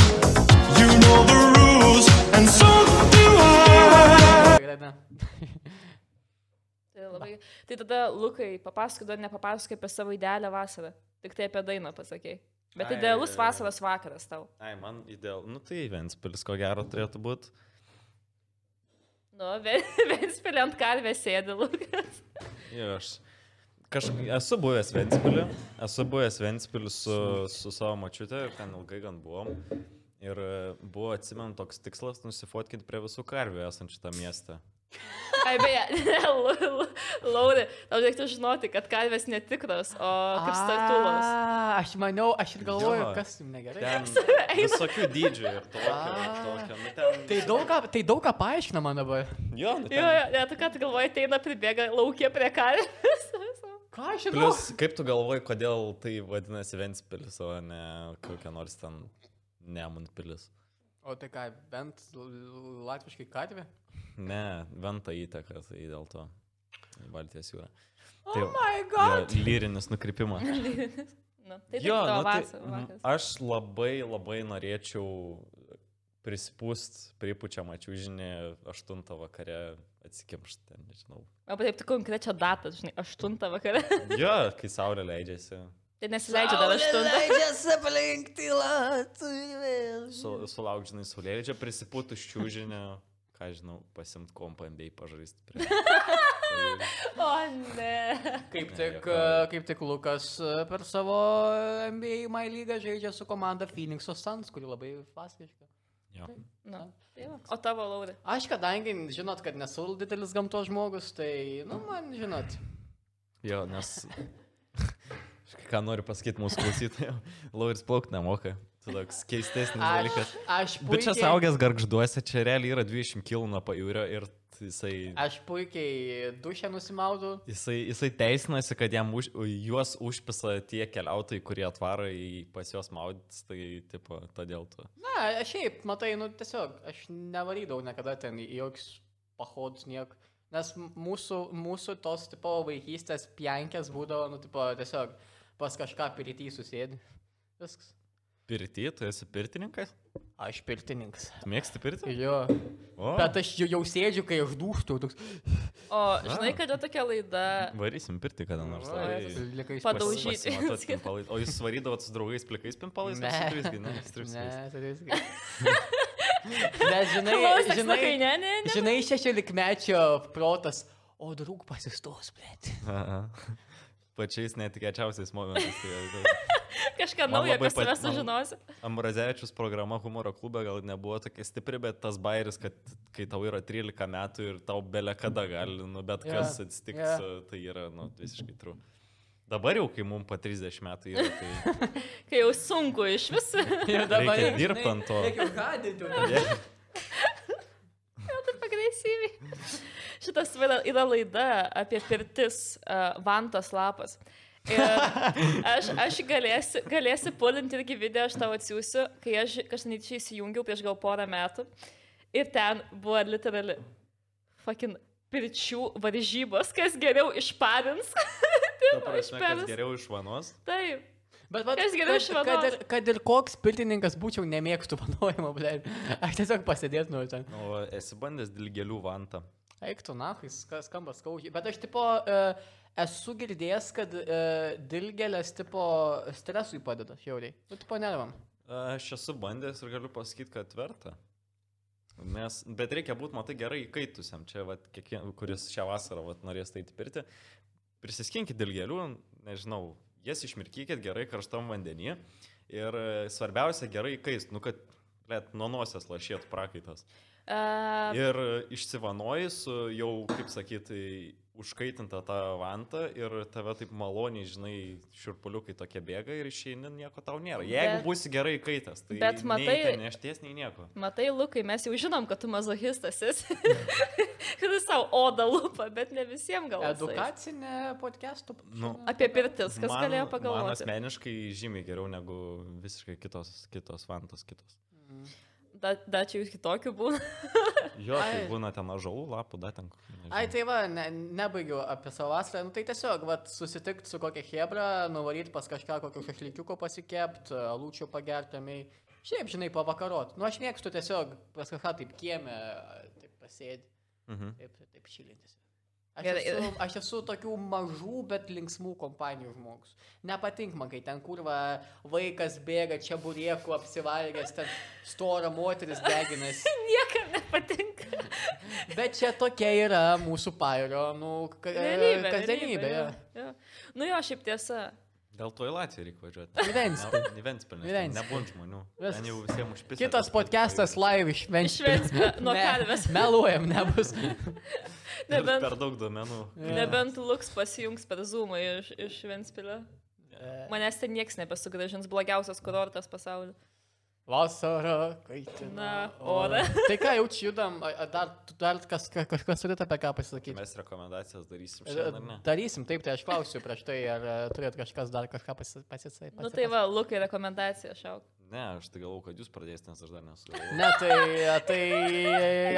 You know the rules, and so do I.
Gerai, ne.
Tai, labai... tai tada, Lukai, papasakok, dar nepapasakok apie savo idealią vasarą, tik tai apie dainą pasakėjai. Bet
Ai,
idealus
ai, ai.
vasaros vakaras tau.
Ai, man ideal. Nu tai Ventspilis, ko gero, turėtų būti.
Nu, Ventspiliant karvę sėdi, Lukas.
Ir aš kažkaip esu buvęs Ventspiliu, esu buvęs Ventspiliu su, su savo mačiute ir ten ilgai gan buvom. Ir e, buvo, atsimenu, toks tikslas nusifotkinti prie visų karvių esančių tą miestą.
Ai, beje, Lauri, tau reikėtų žinoti, kad kalvės netikras, o kaip statulos.
A, Aš maniau, aš ir galvoju,
Jo.
kas jums negerai.
Ten visokių dydžių ir tokio, ir tokio. Nu, ten...
Tai daug, ką- tai daug ką paaiškina man dabar.
Jo,
Jo,
nu, ten...
jo, ne, tu ką tu galvoji, ateina pribėga laukia prie kalvės.
Ką
tai
aš žinau?
Plus, kaip tu galvoji, kodėl tai vadinasi Ventspilis, o ne kokia nors ten Nemunpilis?
O tai ką, bent l- latviškai katvė?
Ne, Venta įteka, tai dėl to. į Baltijos jūra.
Oh
Tai-
my
Jo,
god!
lyrinis nukrypimas.
Nu, tai jo,
nu,
tavo
tai,
vasarą.
m,
vakaras.
aš labai labai norėčiau prisipūst, pripučiam ačiūžinį 8 vakare atsikimšti, ten, nežinau.
O taip, tu konkrečią datą, žinai, 8 vakarą.
Jo, kai saulė leidžiasi.
Tai nesileidžia dar 8.
Su,
Mhm.
sulauk, žinai, saulėlydžio, prisipūtų šiūžinį, ką žinau, pasimt kompandėjai pažaisti. Prie...
O ne.
Kaip tik,
juokauju.
kaip tik Lukas e, per savo NBA My lygą žaidžia su komanda Phoenix Suns, kuri labai fasiška.
Jo.
Nu, tai va. o tavo Lauri.
Aš kadangi, žinot, kad nesu didelis gamtos žmogus, tai, nu, man, žinot,
jo, nes... Aš Ką noriu pasakyti mūsų klausytojams, Lauris plaukti nemoka. Tai toks keistesnis
aš,
dalykas.
aš
Bet čia
puikiai,
saugęs garžduose, čia realiai yra 20 km nuo pajūrio ir jisai...
aš puikiai dušę nusimaudau.
Jisai, jisai teisinasi, kad jam už, juos užpisa tie keliautojai, kurie atvaro į pas juos maudytis, tai tipo, todėl tu.
Na, aš šiaip, matai, nu, tiesiog, aš nevarydavau niekada ten į joks pahodus niek. Nes m- mūsų, mūsų tos, tipo, vaikystės pjankės būdavo, nu, tipo, tiesiog pas kažką pirytį susėdi. Viskas.
Pirty, tu esi pirtininkas?
Aš pirtininkas.
Tu mėgsti pirti?
Jo.
O,
Bet aš jau, jau sėdžiu, kai aš dūštu. Toks...
O, žinai, kada tokia laida?
varysim pirti kada nors.
Va,
tai
likai iš
Padauž-
pasaulio.
pasi-
Daužyti.
pasimatuot pimpalais. O jūs svarydavot su draugais plikais pimpalais?
Ne.
Ar su visgi, ne, su
Ne,
tripsais?
tai visgi. Bet žinai,
Klaus toks
žinai,
sakai, ne, ne, ne.
žinai, šešiolikmečio protas, o draug pasistos, blėt.
Aha. Pačiais netikėčiausiais momentais. tai- tai-
Kažką
Man
naujo
labai
apie
pat-
save
man-
sužinosi.
Ambrazevičius programa humoro klube gal nebuvo tokia stipri, bet tas bairis, kad kai tau yra 13 metų ir tau belė kada gali, nu bet
Jo,
kas atsitiks,
jo.
yeah. tai yra nu, visiškai true. Dabar jau, kai mums po 30 metų yra, tai
Kai jau sunku iš vis.
Ir
Reikia dirbt ant to.
Reikia gadinti.
yeah.
Taip agresyviai. Šitas vaida- yra laida apie pirtis uh, Vantos lapas. Ir aš aš galėsiu, galėsiu pulinti irgi video, aš tau atsiųsiu, kai aš kažkaip įsijungiau prieš gal porą metų. Ir ten buvo literali fucking pirčių varžybos, kas geriau išpadins.
ta prasme, kas
Išperus.
geriau iš vanos.
Taip.
Bet vat,
Kas geriau
kad, kad, ir,
išvados?
kad ir koks pirtininkas būčiau, nemėgtų panaudojimo, blėt. Aš tiesiog pasidėtų nuo ten.
nu, O esi bandęs dilgelių vantą.
Eik tu, na, jis skamba skaudžiai. Bet aš tipo e, esu girdėjęs, kad e, dilgelės tipo stresui padeda, jauriai. Nu, tipo, neravam.
Aš esu bandęs ir galiu pasakyti, kad verta. Nes, bet reikia būti, matai, gerai įkaitusiam. Čia, vat, kiekvien, kuris šią vasarą vat, norės tai pirti, prisiskinki dilgelių, nežinau, jas išmirkykit gerai karštam vandenyje. Ir e, svarbiausia, gerai įkaist, nu kad net nuo nosies lašėtų prakaitas.
Uh,
Ir išsivanoji su jau, kaip sakyti, užkaitinta tą vantą ir tave taip maloniai, žinai, širpuliukai tokie bėga ir išeini, nieko tau nėra. Jeigu
Bet-
būsi gerai kaitas, tai
bet matai-
nei nešties, nei nieko.
matai, Lukai, mes jau žinom, kad tu mazohistas esi. Kad jis savo odą lupa, bet ne visiems gal. jisai.
Edukacinė podcastų.
Nu,
Apie pirtis, kas man, galėjo
Man
pagalvoti.
asmeniškai žymiai geriau negu visiškai kitos, kitos vantos kitos.
Da, da čia jūs kitokių būna.
Jo, tai
Ai.
būna ten ažalų lapų, da ten.
Ai, tai va, ne, nebaigiau apie savo vasarą. Nu, tai tiesiog, va, susitikti su kokia hebra, nuvaryti pas kažką, kokio šešlikiuko pasikept, lūčių pagertamiai. Šiaip, žinai, pavakarot. Nu, aš mėgstu tiesiog pas kažką taip kiemę, taip pasėdėti,
Mhm.
taip, taip šilintis. Aš
Gerai,
esu, aš esu tokių mažų, bet linksmų kompanijų žmogus. Nepatink man, kai ten kurva vaikas bėga, čia burieku apsivalgęs, ten stora moteris deginasi.
Niekam nepatinka.
Bet čia tokia yra mūsų pairio, nu, ka-
Realybė.
kasdienybė.
realybė,
jo.
jo, jo. Nu jo, šiaip tiesa.
Dėl to į Latviją reikia važiuoti.
Į Ventspilį.
Ne- Į Ventspilį.
Į
nes ten
Ventspilį.
Nebūn žmonių.
Viskas.
Ten jau visiems užpildytas.
Kitas podcastas live iš Ventspilio.
Šventsme, nuo
Ne,
kalvės.
Meluojam, nebus.
Nebent-
Per daug duomenų.
Nebent Luks pasijungs per Zoomą iš, iš Ventspilio.
E.
Manęs ten niekas nebesugražins blogiausias kurortas pasaulyje.
Vasara, kaitina.
Na, ora.
Tai ką, jau čia judam, a- a, dar, dar kas, ka- kažkas turėtų apie ką pasisakyti.
Mes rekomendacijas darysim
E,
šiandien, ar ne?
Darysim, taip, tai aš klausiu prieš tai, ar e, turėtų kažkas dar kažką pasisakyti.
Nu tai va, Lukai rekomendacija šauk.
Ne, aš tai galvoju, kad jūs pradėsite, nes aš dar nesu.
Ne, tai, tai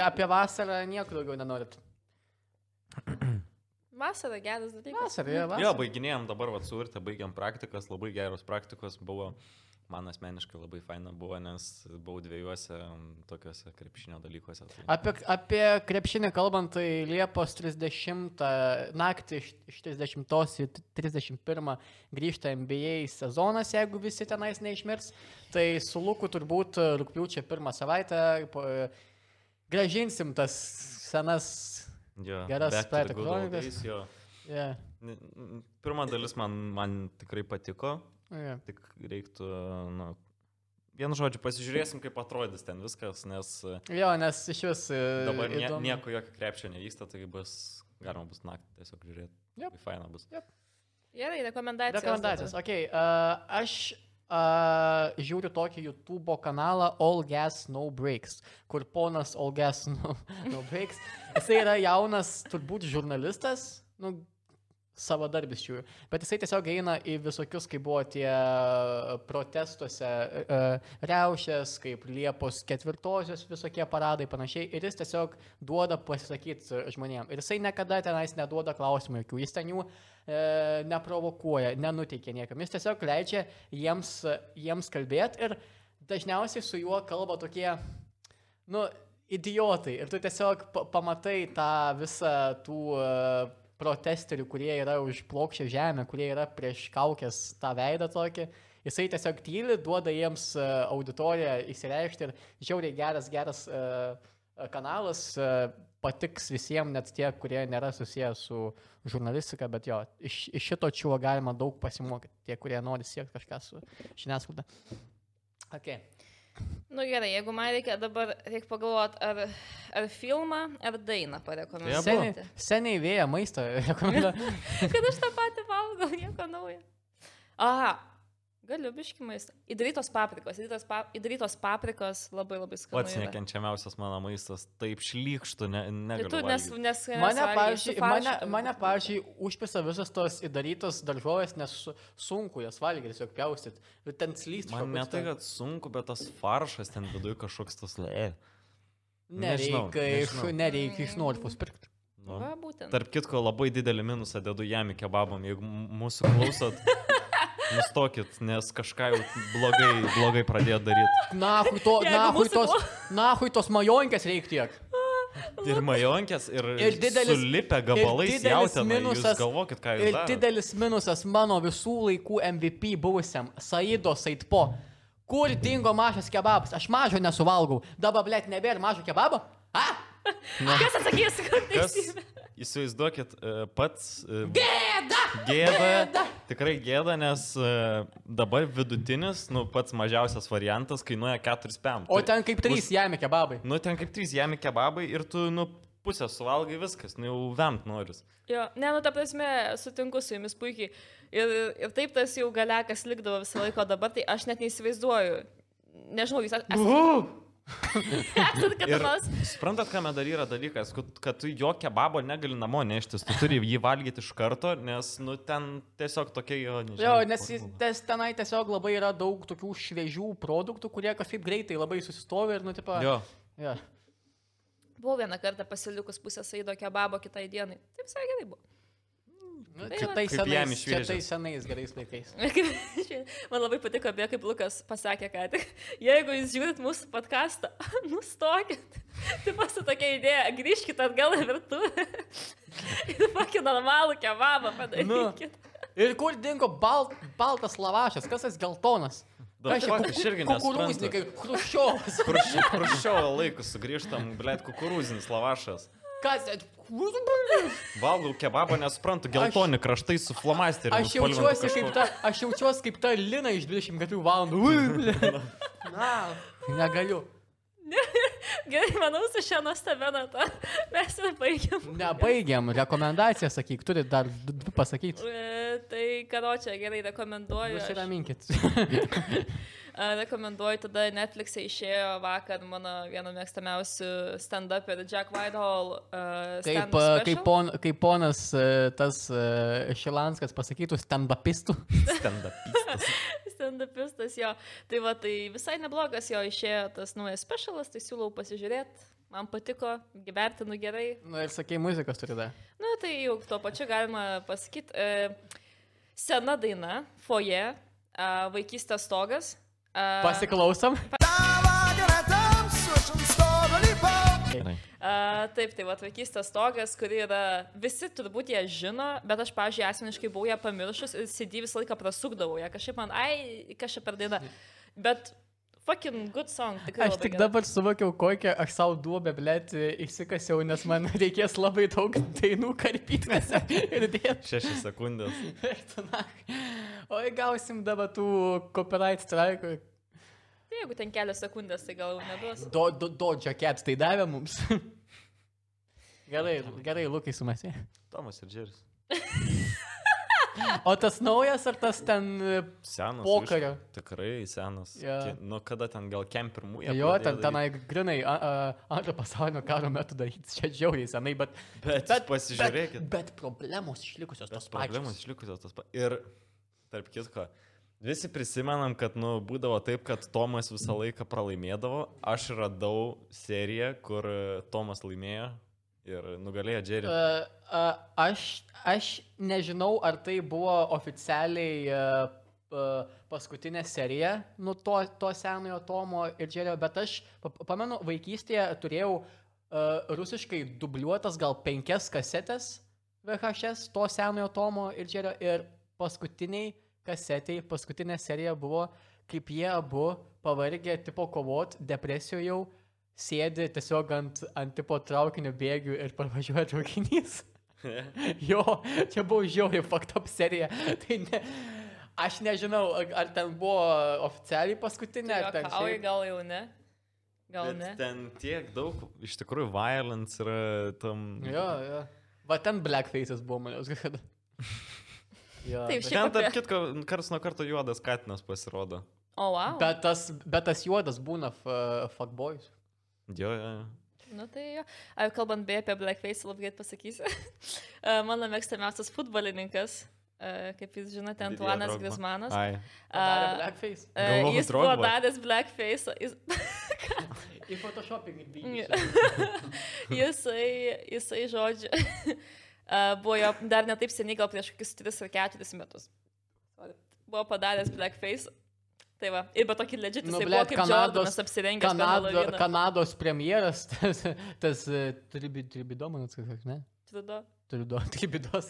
apie vasarą nieko daugiau nenorit.
Vasara geras dalykas.
Vasarą, jo,
Jo,
vasarą.
baiginėjom dabar atsuvirtę, baigiam praktikas, labai geros praktikos buvo. Man asmeniškai labai faina buvo, nes buvau dviejose m, tokiuose krepšinio dalykuose. Tai...
Apie, apie krepšinį kalbant, tai Liepos 30 naktį iš, iš 30 į 31 grįžta NBA sezonas, jeigu visi tenais neišmirs. Tai su Luku turbūt e, rugpjūčio pirmą savaitę po, e, gražinsim tas senas.
Jo,
Geras
back to the
Spyro
good old
Chronicles.
days, jo.
Yeah,
N- n- Pirma dalis man, man tikrai patiko,
yeah.
tik reiktų, nu, vienu žodžiu, pasižiūrėsim, kaip atrodys ten viskas, nes e,
Jo, nes iš vis. e,
dabar nie,
įdomu.
nieko jokio krepšio nevyksta, tai bus, galima bus naktį tiesiog žiūrėti.
Jep.
Yep. Faina bus.
Gerai, rekomendacija.
Rekomendacijos. Ok, uh, aš uh, žiūriu tokį YouTube kanalą All Gas No Breaks, kur ponas All Gas No, no Breaks. Jisai yra jaunas, turbūt žurnalistas. Nu, savo darbis šių. Bet jisai tiesiog eina į visokius, kaip buvo tie protestuose e, e, riaušės, kaip Liepos ketvirtosios visokie paradai panašiai. Ir jis tiesiog duoda pasisakyti žmonėm. Ir jisai niekada tenais neduoda klausimų jokių. Jis ten jų e, neprovokuoja, nenuteikia niekam. Jis tiesiog leidžia jiems, jiems kalbėti ir dažniausiai su juo kalba tokie, nu, idiotai. Ir tu tiesiog pa pamatai tą visą tų e, protesterių, kurie yra už plokščią žemę, kurie yra prieš kaukės tą veidą tokį. Jisai tiesiog tyli, duoda jiems e, auditoriją įsireikšti ir žiauriai geras, geras e, kanalas e, patiks visiems, net tie, kurie nėra susiję su žurnalistika, bet jo, iš, iš šito čiuo galima daug pasimokyti, tie, kurie nori siekti kažką su žiniasklaida. Okay.
Nu gerai, jeigu man reikia dabar, reikia pagalvoti, ar, ar filmą, ar dainą
Seniai,
parekomenduoti.
seniai vėja maistą rekomenduoju.
Kad aš tą patį valgau, nieko naujo. Aha, galiu biški maistą. Įdarytos paprikos, įdarytos, pa, įdarytos paprikos labai labai skanu.
Pats
yra.
nekenčiamiausias mano maistas. Taip šlykštų, ne,
Tai
negaliu.
tu nes,
valgyt.
nes, nes
Mane, pavyzdžiui, mane, mane, pavyzdžiui, užpisa visas tos įdarytos daržovės, nes su- sunku jas valgyti, tiesiog pjaustyt. Bet ten slyst.
Man ne tai, kad sunku, bet tas faršas ten viduje kažkoks tas lė. nežinau,
nereikia, iš,
nežinau.
nereikia iš Norfos pirkti.
Nu.
Va, būtent.
Tarp kitko, labai didelį minusą dedu jam į kebabam, jeigu m- mūsų klausot. Nustokit, nes kažką jau blogai, blogai pradėjo daryti.
Nahui to,
Jeigu
nahui
būsi
tos,
tuo-
nahui tos majonkės reikia tiek.
Ir majonkės, ir,
Ir didelis-
sulipę gabalais
ir didelis
jautieną.
minusas-
Jūs galvokit, ką jūs
Ir
darote.
didelis minusas mano visų laikų MVP buvusiam Saido Saitpo. Kur dingo mažas kebabas? Aš mažo nesuvalgau. Dabar, blėt, nebėra mažo kebabo? A?
Kas atsakys, kad
Kas,
teisybė?
įsivaizduokit, e, pats. Gėda! Gėda.
Gėda!
Tikrai gėda, nes e, dabar vidutinis, nu pats mažiausias variantas kainuoja 4 pėm.
O ten kaip trys jame kebabai.
Nu ten kaip 3 jami kebabai ir tu, nu, pusę suvalgai viskas, nu jau vemt noris.
Jo, ne, nu ta prasme, sutinku su jumis puikiai. Ir, ir taip tas jau galekas likdavo visą laiką, o dabar, tai aš net neįsivaizduoju. Nežinau, jūs esate
Nu, Ir
kada nors.
suprantat, kame dar yra dalykas, kad- kad tu jo kebabo negali namo neštis, tu turi jį valgyti iš karto, nes, nu, ten tiesiog tokia jo, nežinau.
Jo, nes jis-
formulė.
tes, tenai tiesiog labai yra daug tokių šviežių produktų, kurie kažkaip greitai labai susistovi ir, nu, tipo...
Jo,
jo.
Buvau vieną kartą pasilikus pusę saido kebabo kitai dienai. Taip visai gerai buvo.
Nu,
Tai
čia
va.
tai
Kaip jam
senais, čia
išviežęs.
tai senais gerais laikais.
Man labai patiko, beje, kaip Lukas pasakė, kad jeigu jūs žiūrit mūsų podcastą, nustokit. Tai pasi tokia idėja, grįžkit atgal į virtuvę ir kokį normalų kebabą
Nu.
padarykit.
Ir kur dingo balt, baltas lavašas, kas tas geltonas?
Da,
Kas čia,
fuck,
kuku-
aš irgi
Kukurūznikai,
nesuprantu.
Hruščiovas.
Kur ši- kur šio laiku sugrįžtam, blėt, kukurūzinis lavašas.
Kas?
Valgau kebabą, nesuprantu, geltoni kraštai su flomasteriu.
Aš jaučiuosi kaip ta, aš jaučiuosi kaip ta Lina iš 24 valandų. Ui, ble. Na, negaliu.
Gerai, manau, su šią nuostabią natą mes ir baigiam.
Nebaigiam, rekomendaciją sakyk, turi dar d- dvi pasakyti.
E, Tai, ką čia gerai rekomenduoju. aš.
Nusiraminkit.
A, Rekomenduoju, tada Netflix'e išėjo vakar mano vieno mėgstamiausių stand-up ir Jack Whitehall. Uh,
Kaip, a, kaip, pon, kaip ponas e, tas e, Šilanskas pasakytų, stand-upistų.
stenda.
Stand-upistas jo. Tai va, tai visai neblogas jo išėjo tas naujas specialas, tai siūlau pasižiūrėti. Man patiko, gyvertinu gerai.
Nu ir sakė, muzikos turi dar.
Nu, tai jau tuo pačiu galima pasakyti. E, sena daina, foje, e, vaikystės stogas. E,
Pasiklausom.
A, taip, tai va, vaikystės togas, kuri yra, visi turbūt ją žino, bet aš, pažiūrėjau, asmeniškai buvau ją pamiršus ir CD visą laiką prasukdavau ją. Kažkaip man, ai, kažkaip per dainą. Bet fucking good song, tikrai.
Aš
labai
tik
gera.
dabar suvokiau, kokią aš savo duobę, blėt, išsikasiau, nes man reikės labai daug dainų karpytėse ir dėti.
Šešias sekundės.
Oi, gausim dabar tų copyright strike.
Tai jeigu ten kelias sekundės, tai gal jau neduos.
Do, do, Dodge Cats tai davė mums. Gerai, gerai, Lukai sumasi.
Tomas ir Džeris.
O tas naujas ar tas ten... e,
Senas.
Pokario.
biškį. Tikrai senas.
Jo.
Ki- Nu, kada ten gal kem pirmųjų.
Jo, ten tenai grinai a- a- antro pasaulinio karo metu daryti čia džiaugiai senai, bet...
Bet pasižiūrėkit.
Bet, bet problemos išlikusios tos
Problemos
pačios.
išlikusios tas pats. Ir, tarp kitko, visi prisimenam, kad, nu, būdavo taip, kad Tomas visą laiką pralaimėdavo. Aš radau seriją, kur e, Tomas laimėjo ir nugalėjo Jerry.
A, E, a, Aš, aš nežinau, ar tai buvo oficialiai a, a, paskutinė serija nuo to, to senojo Tomo ir Džerio, bet aš pa- pa- pamenu, vaikystėje turėjau a, rusiškai dubliuotas gal penkias kasetės VHS to senojo Tomo ir Džerio ir paskutiniai kasetei, paskutinė serija buvo, kaip jie abu pavargę tipo kovot, depresijoje jau sėdi tiesiog ant, ant tipo traukinio bėgių ir parvažiuoja traukinys. jo, čia buvo žiauriai fucked up serija. tai ne, aš nežinau, ar- ar ten buvo oficialiai paskutinė, ar ten
Juokauji,
šiaip.
gal jau ne? Gal
Bet
ne?
ten tiek daug, iš tikrųjų, violence yra tam...
Jo, jo. Va ten blackface'as buvo, manęs, kad. Jo,
Taip,
bet-
Ten, tarp
apie-
kitko, karts nuo karto juodas katinas pasirodo.
O, wow.
Bet tas, bet tas juodas būna f- fuckboys.
Jo, jo, jo.
Nu tai, jo. Ai, kalbant beje apie Blackface, labai greit pasakysiu. E, Mano mėgstamiausias futbolininkas, e, kaip jūs žinote,
Didier
Antuanas
Drogba.
Grismanas.
Ai.
Padarė
A,
blackface.
e,
Galvojau,
Jis buvo
Drogba.
daręs Blackface. Jis,
Į photoshopping
Ne.
įdėjau.
jisai, jisai žodžiu, e, buvo jo dar netaip seniai, gal prieš kokius 3 ar 4 metus. Buvo padaręs Blackface. Tai va, ir be tokį legitį,
Nu,
jisai buvo
blet,
kaip
Kanados-
Jordanas apsirengęs. per
Kanado,
Halloweeną.
Kanados premjeras, tas, tas e, tribi, tribido, man atsakau, ne?
Trudo.
Tribido, tribidos.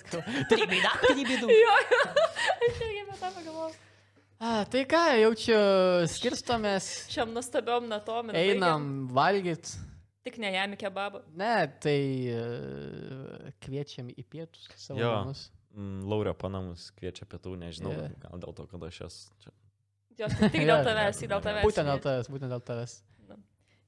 Tribida, tribidų.
Jo, jo, aš irgi apie tą pagalvojau.
A, tai ką, jau čia skirstomės,
Šiam nustabiom natom. ir baigiam.
einam valgyt.
Tik ne jam į kebabą.
Ne, tai e, kviečiam į pietus savo
Jo.
namus.
Mm, Laurio panamus kviečia pietų, nežinau,
Jo.
gal dėl to, kad aš esu čia.
Jos tik
Jo,
dėl tavęs, tik dėl tavęs.
Būtent dėl tavęs, būtent dėl tavęs.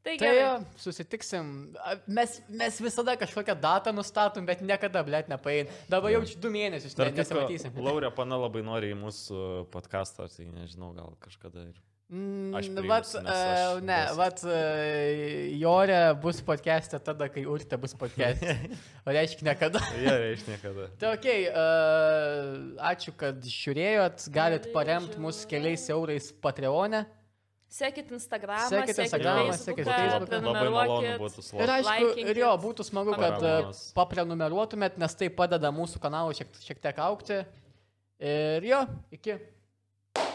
Tai
Tai
gerai.
jo, susitiksim. A, Mes, mes visada kažkokią datą nustatom, bet niekada, blėt, nepain. Dabar jau čia du mėnesius, ne,
Tarp kitko,
nesimatysim.
Laurio pana labai nori į mūsų podcastą, tai nežinau, gal kažkada ir... Aš
Mm,
priimsiu,
Vat,
nes aš
e, ne,
dėstytojas.
vat, e, Jorė bus podcast'e tada, kai Urte bus podcast'e. O reiškia niekada.
Gerai, iš niekada.
Tai ok, ačiū, kad žiūrėjot, galit paremti mus keliais eurais Patreon'e.
Sekit Instagramą,
Sekit
sekit
Instagramą,
Facebooką,
sekit Facebooką.
Facebooką,
Labai malonu
prenumeruokit.
būtų
Ir
slaugyti.
aišku, ir jo,
Laikinkit.
būtų smagu, kad e,
Paramos.
paprenumeruotumėt, nes tai padeda mūsų kanalui šiek, šiek tiek aukti. Ir jo, iki.